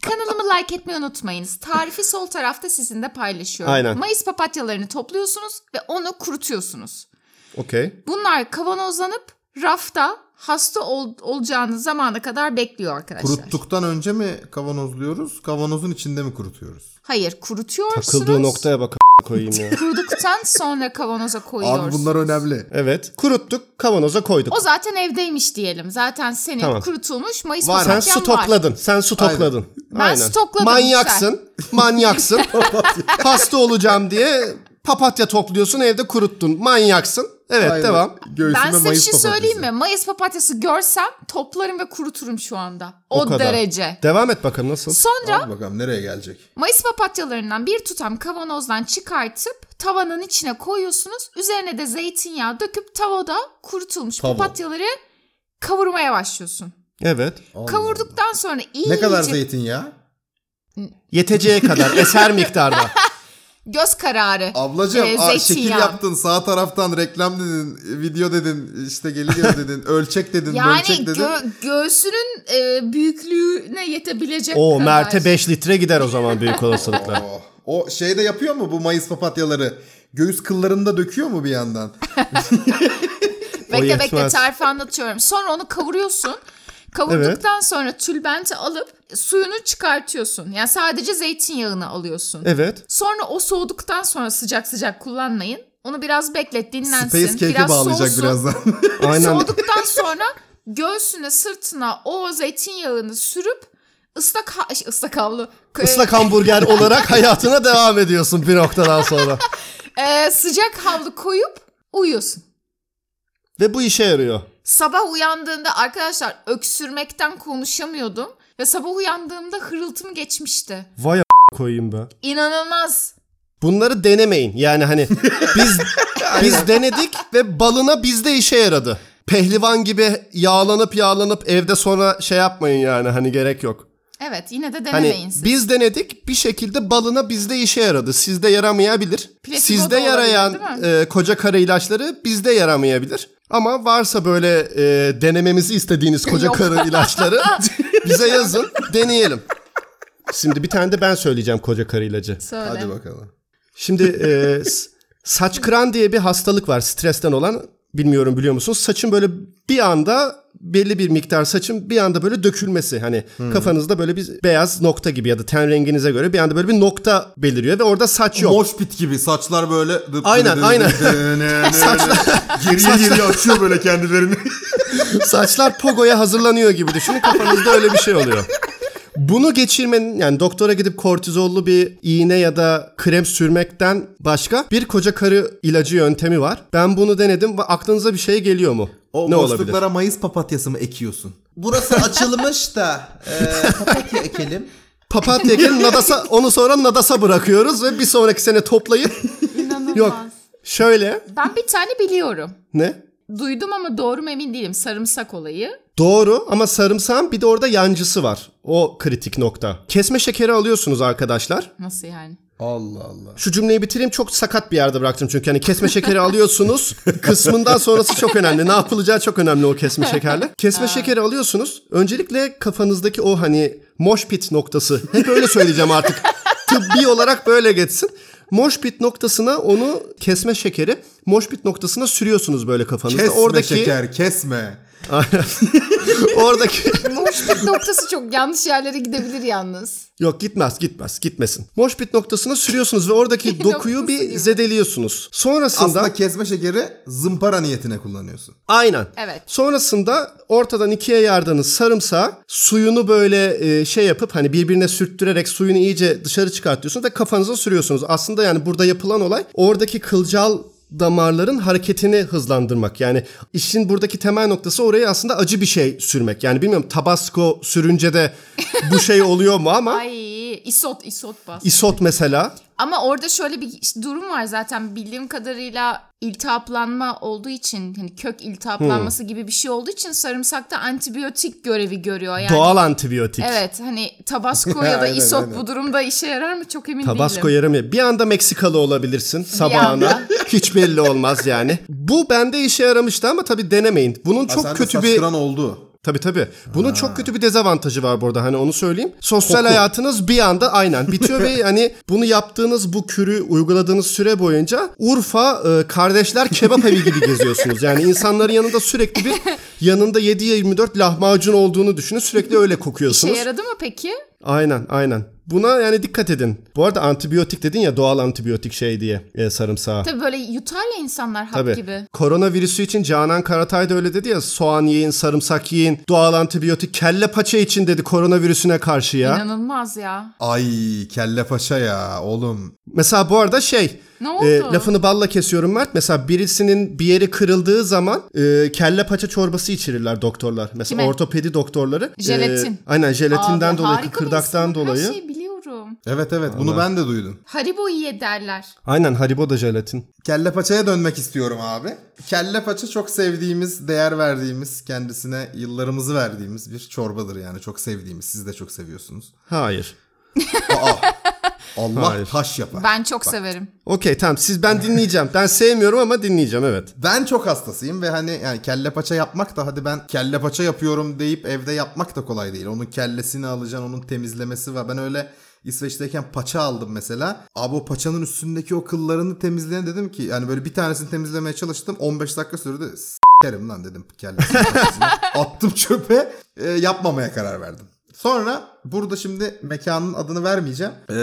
Speaker 3: Kanalımı like etmeyi unutmayınız. Tarifi sol tarafta sizinle paylaşıyorum.
Speaker 1: Aynen.
Speaker 3: Mayıs papatyalarını topluyorsunuz ve onu kurutuyorsunuz.
Speaker 1: Okey.
Speaker 3: Bunlar kavanozlanıp rafta hasta ol- olacağınız zamana kadar bekliyor arkadaşlar.
Speaker 2: Kuruttuktan önce mi kavanozluyoruz? Kavanozun içinde mi kurutuyoruz?
Speaker 3: Hayır kurutuyorsunuz.
Speaker 1: Takıldığı noktaya bakın koyayım ya.
Speaker 3: Kuruduktan sonra kavanoza koyuyorsunuz.
Speaker 2: Abi bunlar önemli.
Speaker 1: Evet. Kuruttuk, kavanoza koyduk.
Speaker 3: O zaten evdeymiş diyelim. Zaten senin
Speaker 1: Tamam.
Speaker 3: kurutulmuş Mayıs
Speaker 2: Var.
Speaker 1: Sen
Speaker 3: papatyan
Speaker 1: su topladın. Sen su topladın.
Speaker 3: Ben su topladım,
Speaker 1: Manyaksın. Manyaksın. Hasta olacağım diye papatya topluyorsun, evde kuruttun. Manyaksın. Evet,
Speaker 2: Aynen.
Speaker 1: devam.
Speaker 2: Göğsüme
Speaker 3: Ben size bir
Speaker 2: Mayıs
Speaker 3: şey söyleyeyim mi?
Speaker 2: papatyası.
Speaker 3: Mayıs papatyası görsem toplarım ve kuruturum şu anda. O,
Speaker 1: kadar.
Speaker 3: derece.
Speaker 1: Devam et bakalım nasıl?
Speaker 3: Sonra
Speaker 2: Hadi bakalım nereye gelecek?
Speaker 3: Mayıs papatyalarından bir tutam kavanozdan çıkartıp tavanın içine koyuyorsunuz. Üzerine de zeytinyağı döküp tavada kurutulmuş
Speaker 2: Tavo.
Speaker 3: papatyaları kavurmaya başlıyorsun.
Speaker 1: Evet.
Speaker 2: Allah
Speaker 3: Kavurduktan sonra iyice
Speaker 2: Ne kadar zeytinyağı?
Speaker 1: Yeteceği kadar eser miktarda.
Speaker 3: göz kararı.
Speaker 2: Ablacığım
Speaker 3: e,
Speaker 2: aa, şekil
Speaker 3: zeytinyağı.
Speaker 2: yaptın sağ taraftan reklam dedin video dedin işte geliyor dedin ölçek dedin
Speaker 3: Yani
Speaker 2: ölçek dedin.
Speaker 3: gö- göğsünün e, büyüklüğüne yetebilecek
Speaker 1: O
Speaker 3: kadar.
Speaker 1: Mert'e 5 litre gider o zaman büyük olasılıkla.
Speaker 2: Oh, o şey de yapıyor mu bu Mayıs papatyaları? Göğüs kıllarını da döküyor mu bir yandan?
Speaker 1: O
Speaker 3: Bekle bekle
Speaker 1: yetmez.
Speaker 3: tarifi anlatıyorum. Sonra onu kavuruyorsun. Kavurduktan sonra tülbenti alıp suyunu çıkartıyorsun. Yani sadece zeytinyağını alıyorsun.
Speaker 1: Evet.
Speaker 3: Sonra o soğuduktan sonra sıcak sıcak kullanmayın. Onu biraz beklet dinlensin.
Speaker 2: Space cake'e
Speaker 3: biraz
Speaker 2: bağlayacak
Speaker 3: soğusun.
Speaker 2: birazdan.
Speaker 1: Aynen.
Speaker 3: Soğuduktan sonra göğsüne sırtına o zeytinyağını sürüp ıslak ha- ıslak havlu k-
Speaker 1: Islak hamburger olarak hayatına devam ediyorsun bir noktadan sonra.
Speaker 3: e, sıcak havlu koyup uyuyorsun.
Speaker 1: Ve bu işe yarıyor.
Speaker 3: Sabah uyandığında arkadaşlar öksürmekten konuşamıyordum ve sabah uyandığımda hırıltım geçmişti.
Speaker 1: Vay a- koyayım be.
Speaker 3: İnanılmaz.
Speaker 1: Bunları denemeyin. Yani hani biz biz denedik ve balına bizde işe yaradı. Pehlivan gibi yağlanıp yağlanıp evde sonra şey yapmayın yani hani gerek yok.
Speaker 3: Evet yine de
Speaker 1: Hani
Speaker 3: denemeyin siz.
Speaker 1: biz denedik bir şekilde balına bizde işe yaradı. Sizde yaramayabilir.
Speaker 3: Plasebo
Speaker 1: sizde
Speaker 3: da olabilir,
Speaker 1: yarayan
Speaker 3: değil
Speaker 1: e, koca karı ilaçları bizde yaramayabilir. Ama varsa böyle e, denememizi istediğiniz koca
Speaker 3: Yok.
Speaker 1: karı ilaçları bize yazın deneyelim. Şimdi bir tane de ben söyleyeceğim koca karı ilacı.
Speaker 3: Söyle.
Speaker 2: Hadi bakalım.
Speaker 1: Şimdi e, s- saç kıran diye bir hastalık var stresten olan. Bilmiyorum biliyor musunuz? Saçın böyle bir anda belli bir miktar saçın bir anda böyle dökülmesi. Hani kafanızda böyle bir beyaz nokta gibi ya da ten renginize göre bir anda böyle bir nokta beliriyor ve orada saç yok.
Speaker 2: Moş pit gibi saçlar böyle. dıt
Speaker 1: Aynen,
Speaker 2: dıt
Speaker 1: aynen.
Speaker 2: dıt dıt Geriye geriye açıyor böyle kendilerini.
Speaker 1: Saçlar pogoya hazırlanıyor gibi düşünün kafanızda öyle bir şey oluyor. Bunu geçirmenin yani doktora gidip kortizollu bir iğne ya da krem sürmekten başka bir koca karı ilacı yöntemi var. Ben bunu denedim ve aklınıza bir şey geliyor mu?
Speaker 2: O
Speaker 1: ne olabilir?
Speaker 2: boşluklara Mayıs papatyası mı ekiyorsun? Burası açılmış da e, papatya ekelim.
Speaker 1: Papatya gelin Nadas'a onu sonra Nadas'a bırakıyoruz ve bir sonraki sene toplayıp
Speaker 3: İnanılmaz.
Speaker 1: yok şöyle
Speaker 3: Ben bir tane biliyorum.
Speaker 1: ne?
Speaker 3: Duydum ama doğru mu emin değilim sarımsak olayı.
Speaker 1: Doğru ama sarımsağın bir de orada yancısı var. O kritik nokta. Kesme şekeri alıyorsunuz arkadaşlar.
Speaker 3: Nasıl yani?
Speaker 2: Allah Allah.
Speaker 1: Şu cümleyi bitireyim çok sakat bir yerde bıraktım çünkü hani kesme şekeri alıyorsunuz kısmından sonrası çok önemli. Ne yapılacağı çok önemli o kesme şekerle. Kesme şekeri alıyorsunuz. Öncelikle kafanızdaki o hani mosh pit noktası. Hep öyle söyleyeceğim artık. Tıbbi olarak böyle geçsin. Mosh pit noktasına onu kesme şekeri mosh pit noktasına sürüyorsunuz böyle kafanızda.
Speaker 2: Kesme
Speaker 1: oradaki
Speaker 2: şeker kesme.
Speaker 1: oradaki
Speaker 5: Moşpit noktası çok yanlış yerlere gidebilir yalnız.
Speaker 1: Yok gitmez gitmez gitmesin. Mosh pit noktasına sürüyorsunuz ve oradaki dokuyu bir
Speaker 5: Noktası gibi.
Speaker 1: zedeliyorsunuz. Sonrasında
Speaker 2: Aslında kesme şekeri zımpara niyetine kullanıyorsun.
Speaker 1: Aynen.
Speaker 5: Evet.
Speaker 1: Sonrasında ortadan ikiye yardığınız sarımsağı suyunu böyle e, şey yapıp hani birbirine sürttürerek suyunu iyice dışarı çıkartıyorsunuz ve kafanıza sürüyorsunuz. Aslında yani burada yapılan olay oradaki kılcal damarların hareketini hızlandırmak. Yani işin buradaki temel noktası oraya aslında acı bir şey sürmek. Yani bilmiyorum Tabasco sürünce de bu şey oluyor mu ama
Speaker 3: Ay isot isot bas.
Speaker 1: isot mesela
Speaker 3: Ama orada şöyle bir durum var zaten bildiğim kadarıyla iltihaplanma olduğu için hani kök
Speaker 1: Hmm.
Speaker 3: iltihaplanması gibi bir şey olduğu için sarımsakta antibiyotik görevi görüyor yani.
Speaker 1: doğal antibiyotik.
Speaker 3: Evet hani tabasco ya da
Speaker 2: Aynen,
Speaker 3: isot
Speaker 2: aynen.
Speaker 3: bu durumda işe yarar mı çok emin
Speaker 1: Tabasco
Speaker 3: değilim.
Speaker 1: yaramıyor. Bir anda Meksikalı olabilirsin sabahına.
Speaker 3: anda.
Speaker 1: Hiç belli olmaz yani. Bu bende işe yaramıştı ama tabii denemeyin. Bunun
Speaker 2: Ha,
Speaker 1: çok
Speaker 2: sende
Speaker 1: kötü
Speaker 2: saç
Speaker 1: bir
Speaker 2: kıran oldu.
Speaker 1: tabii tabii. Bunun çok kötü bir dezavantajı var burada hani onu söyleyeyim. Sosyal hayatınız bir anda aynen bitiyor ve hani bunu yaptığınız bu kürü uyguladığınız süre boyunca Urfa e, kardeşler kebap evi gibi geziyorsunuz. Yani insanların yanında sürekli bir yanında 7/24 lahmacun olduğunu düşünün. Sürekli öyle kokuyorsunuz.
Speaker 3: İşe yaradı mı peki?
Speaker 1: Aynen aynen. Buna yani dikkat edin. Bu arada antibiyotik dedin ya doğal antibiyotik şey diye e, sarımsağı.
Speaker 3: Tabii böyle yutar ya insanlar hap
Speaker 1: Tabii.
Speaker 3: gibi.
Speaker 1: Koronavirüsü için Canan Karatay da öyle dedi ya soğan yiyin, sarımsak yiyin, doğal antibiyotik, kelle paça için dedi koronavirüsüne karşı ya.
Speaker 3: İnanılmaz ya.
Speaker 2: Ay kelle paşa ya oğlum.
Speaker 1: Mesela bu arada şey
Speaker 3: Ne oldu?
Speaker 1: lafını balla kesiyorum Mert. Mesela birisinin bir yeri kırıldığı zaman e, kelle paça çorbası içirirler doktorlar. Mesela
Speaker 3: Kime?
Speaker 1: ortopedi doktorları. E,
Speaker 3: Jelatin.
Speaker 1: aynen jelatinden
Speaker 3: Abi,
Speaker 1: dolayı,
Speaker 3: harika bir
Speaker 1: kıkırdaktan
Speaker 3: isim.
Speaker 1: dolayı.
Speaker 3: Her şey- şeyi biliyorum.
Speaker 2: Evet evet bunu ben de duydum.
Speaker 3: Haribo'yu ye derler.
Speaker 1: Aynen Haribo da jelatin.
Speaker 2: Kelle paçaya dönmek istiyorum abi. Kelle paça çok sevdiğimiz, değer verdiğimiz, kendisine yıllarımızı verdiğimiz bir çorbadır yani. Çok sevdiğimiz. Siz de çok seviyorsunuz.
Speaker 1: Hayır.
Speaker 2: Aa, Allah
Speaker 1: Hayır.
Speaker 2: taş yapar. Ben...
Speaker 3: Ben çok severim.
Speaker 1: Okey tamam siz ben dinleyeceğim. Ben sevmiyorum ama dinleyeceğim evet.
Speaker 2: çok hastasıyım ve hani yani kelle paça yapmak da hadi ben kelle paça yapıyorum deyip evde yapmak da kolay değil. Onun kellesini alacaksın, onun temizlemesi var. Ben öyle İsveç'teyken paça aldım mesela. Abi o paçanın üstündeki o kıllarını temizleyen dedim ki yani böyle bir tanesini temizlemeye çalıştım. 15 dakika sürdü. S**erim lan dedim kellesini. paçasını. Attım çöpe. E, yapmamaya karar verdim. Sonra burada şimdi mekanın adını vermeyeceğim. E,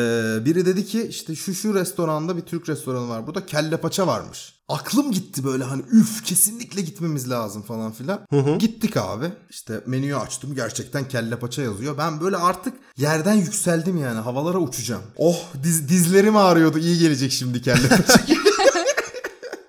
Speaker 2: biri dedi ki işte şu şu restoranda bir Türk restoranı var burada kelle paça varmış. Aklım gitti böyle hani üf kesinlikle gitmemiz lazım falan filan. Gittik abi. İşte menüyü açtım gerçekten kelle paça yazıyor. Ben böyle artık yerden yükseldim yani havalara uçacağım. Oh diz, dizlerim ağrıyordu iyi gelecek şimdi kelle paça.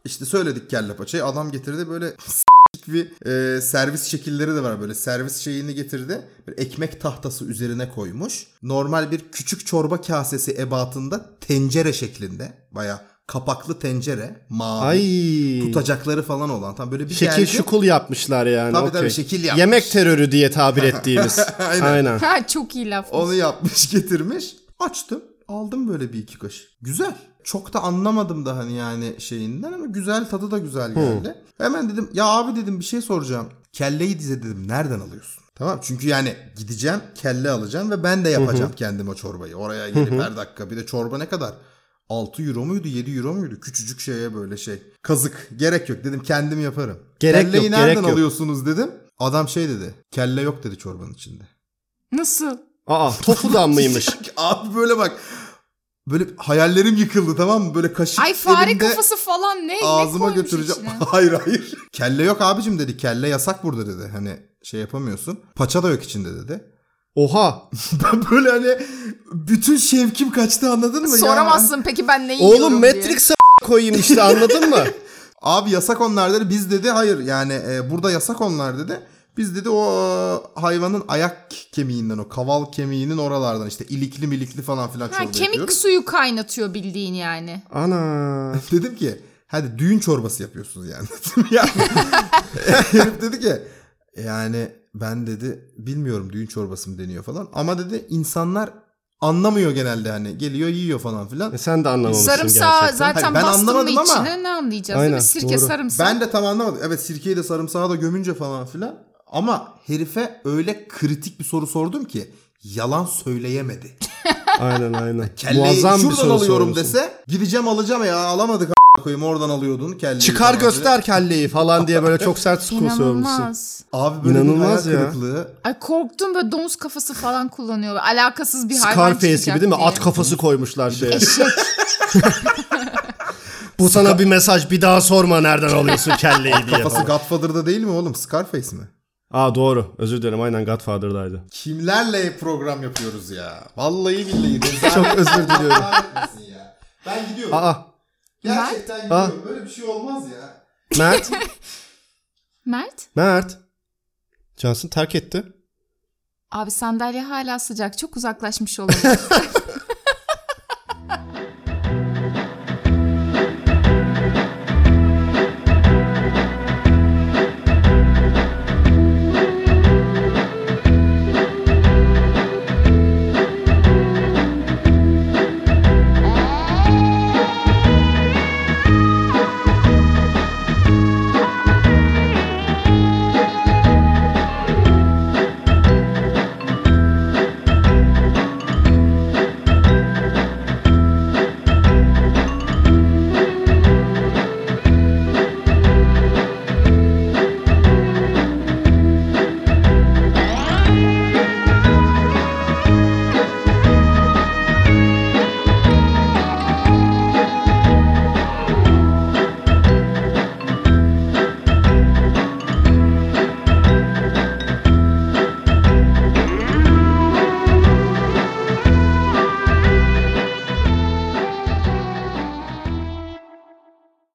Speaker 2: işte söyledik kelle paçayı adam getirdi böyle Küçük bir e, servis şekilleri de var böyle servis şeyini getirdi Böyle ekmek tahtası üzerine koymuş normal bir küçük çorba kasesi ebatında tencere şeklinde baya kapaklı tencere mavi
Speaker 1: Ay.
Speaker 2: tutacakları falan olan tam böyle bir
Speaker 1: Şekil
Speaker 2: geldi.
Speaker 1: şukul yapmışlar yani.
Speaker 2: Tabii
Speaker 1: okey.
Speaker 2: tabii, şekil yapmış.
Speaker 1: Yemek terörü diye tabir ettiğimiz. Aynen.
Speaker 3: Ha çok iyi laf.
Speaker 2: Onu yapmış getirmiş. Açtım. Aldım böyle bir iki kaşık. Güzel. Çok da anlamadım da hani yani şeyinden ama güzel tadı da güzel geldi. Hemen dedim ya abi dedim bir şey soracağım. Kelleyi dize dedim nereden alıyorsun? Tamam çünkü yani gideceğim kelle alacağım ve ben de yapacağım kendime çorbayı. Oraya gelip her dakika bir de çorba ne kadar? 6 euro muydu 7 euro muydu? Küçücük şeye böyle şey. Kazık gerek yok dedim kendim yaparım.
Speaker 1: Gerek
Speaker 2: Kelleyi
Speaker 1: yok, gerek
Speaker 2: nereden
Speaker 1: yok.
Speaker 2: alıyorsunuz dedim. Adam şey dedi. Kelle yok dedi çorbanın içinde.
Speaker 3: Nasıl?
Speaker 1: Aa tofudan mıymış?
Speaker 2: Abi böyle bak. Böyle hayallerim yıkıldı tamam mı? Böyle kaşık
Speaker 3: Ay fare
Speaker 2: elimde
Speaker 3: kafası falan ne? ne
Speaker 2: ağzıma
Speaker 3: koymuş
Speaker 2: götüreceğim.
Speaker 3: içine?
Speaker 2: hayır hayır. Kelle yok abicim dedi. Kelle yasak burada dedi. Hani şey yapamıyorsun. Paça da yok içinde dedi.
Speaker 1: Oha.
Speaker 2: Ben böyle hani bütün şevkim kaçtı anladın mı? ya?
Speaker 3: Soramazsın peki ben ne yiyorum
Speaker 1: Oğlum
Speaker 3: diye.
Speaker 1: Matrix'e koyayım işte anladın mı?
Speaker 2: Abi yasak onlar dedi. Biz dedi hayır yani e, burada yasak onlar dedi. Biz dedi o e, hayvanın ayak kemiğinden o kaval kemiğinin oralardan işte ilikli milikli falan filan
Speaker 3: Ha,
Speaker 2: çorba
Speaker 3: kemik
Speaker 2: yapıyoruz.
Speaker 3: suyu kaynatıyor bildiğin yani.
Speaker 1: Ana.
Speaker 2: Dedim ki hadi düğün çorbası yapıyorsunuz yani. Dedim yani. Herif dedi ki yani ben dedi bilmiyorum düğün çorbası mı deniyor falan. Ama dedi insanlar anlamıyor genelde hani. Geliyor yiyor falan filan.
Speaker 1: E sen de anlamamışsın
Speaker 3: Sarımsağı
Speaker 1: gerçekten.
Speaker 2: Hayır,
Speaker 3: zaten
Speaker 2: ben
Speaker 3: bastın mı
Speaker 2: anlamadım ama-
Speaker 3: içine ne anlayacağız değil
Speaker 1: Aynen,
Speaker 3: mi? Sirke
Speaker 1: doğru.
Speaker 3: sarımsak.
Speaker 2: Ben de tam anlamadım. Evet sirkeyi de sarımsağı da gömünce falan filan. Ama herife öyle kritik bir soru sordum ki yalan söyleyemedi.
Speaker 1: Aynen aynen.
Speaker 2: Kelleyi
Speaker 1: Muazzam bir
Speaker 2: şuradan
Speaker 1: soru
Speaker 2: alıyorum
Speaker 1: soruyorsun.
Speaker 2: dese gideceğim alacağım ya alamadık a- koyayım oradan alıyordun kelleyi.
Speaker 1: Çıkar
Speaker 2: falan filan.
Speaker 1: göster kelleyi falan diye böyle çok sert soru sormuşsun.
Speaker 3: İnanılmaz.
Speaker 2: Abi böyle
Speaker 1: İnanılmaz
Speaker 2: bir hayal
Speaker 1: ya.
Speaker 2: kırıklığı.
Speaker 3: Ay korktum böyle domuz kafası falan kullanıyor. Alakasız bir hayvan
Speaker 1: Scarface gibi
Speaker 3: çıkacak
Speaker 1: değil mi?
Speaker 3: diye. Şey,
Speaker 1: At kafası koymuşlar şeye. Bu sana bir mesaj bir daha sorma nereden alıyorsun kelleyi diye.
Speaker 2: Kafası Godfather'da değil mi oğlum? Scarface mi?
Speaker 1: Aa doğru özür dilerim aynen Godfather'daydı.
Speaker 2: Kimlerle program yapıyoruz ya? Vallahi billahi. şey
Speaker 1: Çok özür diliyorum.
Speaker 2: Ben gidiyorum.
Speaker 1: Aa
Speaker 2: Gerçekten gidiyorum. Böyle bir şey olmaz ya.
Speaker 1: Mert
Speaker 3: Mert
Speaker 1: Mert. Johnson terk etti.
Speaker 3: abi sandalye hala sıcak çok uzaklaşmış olabilir.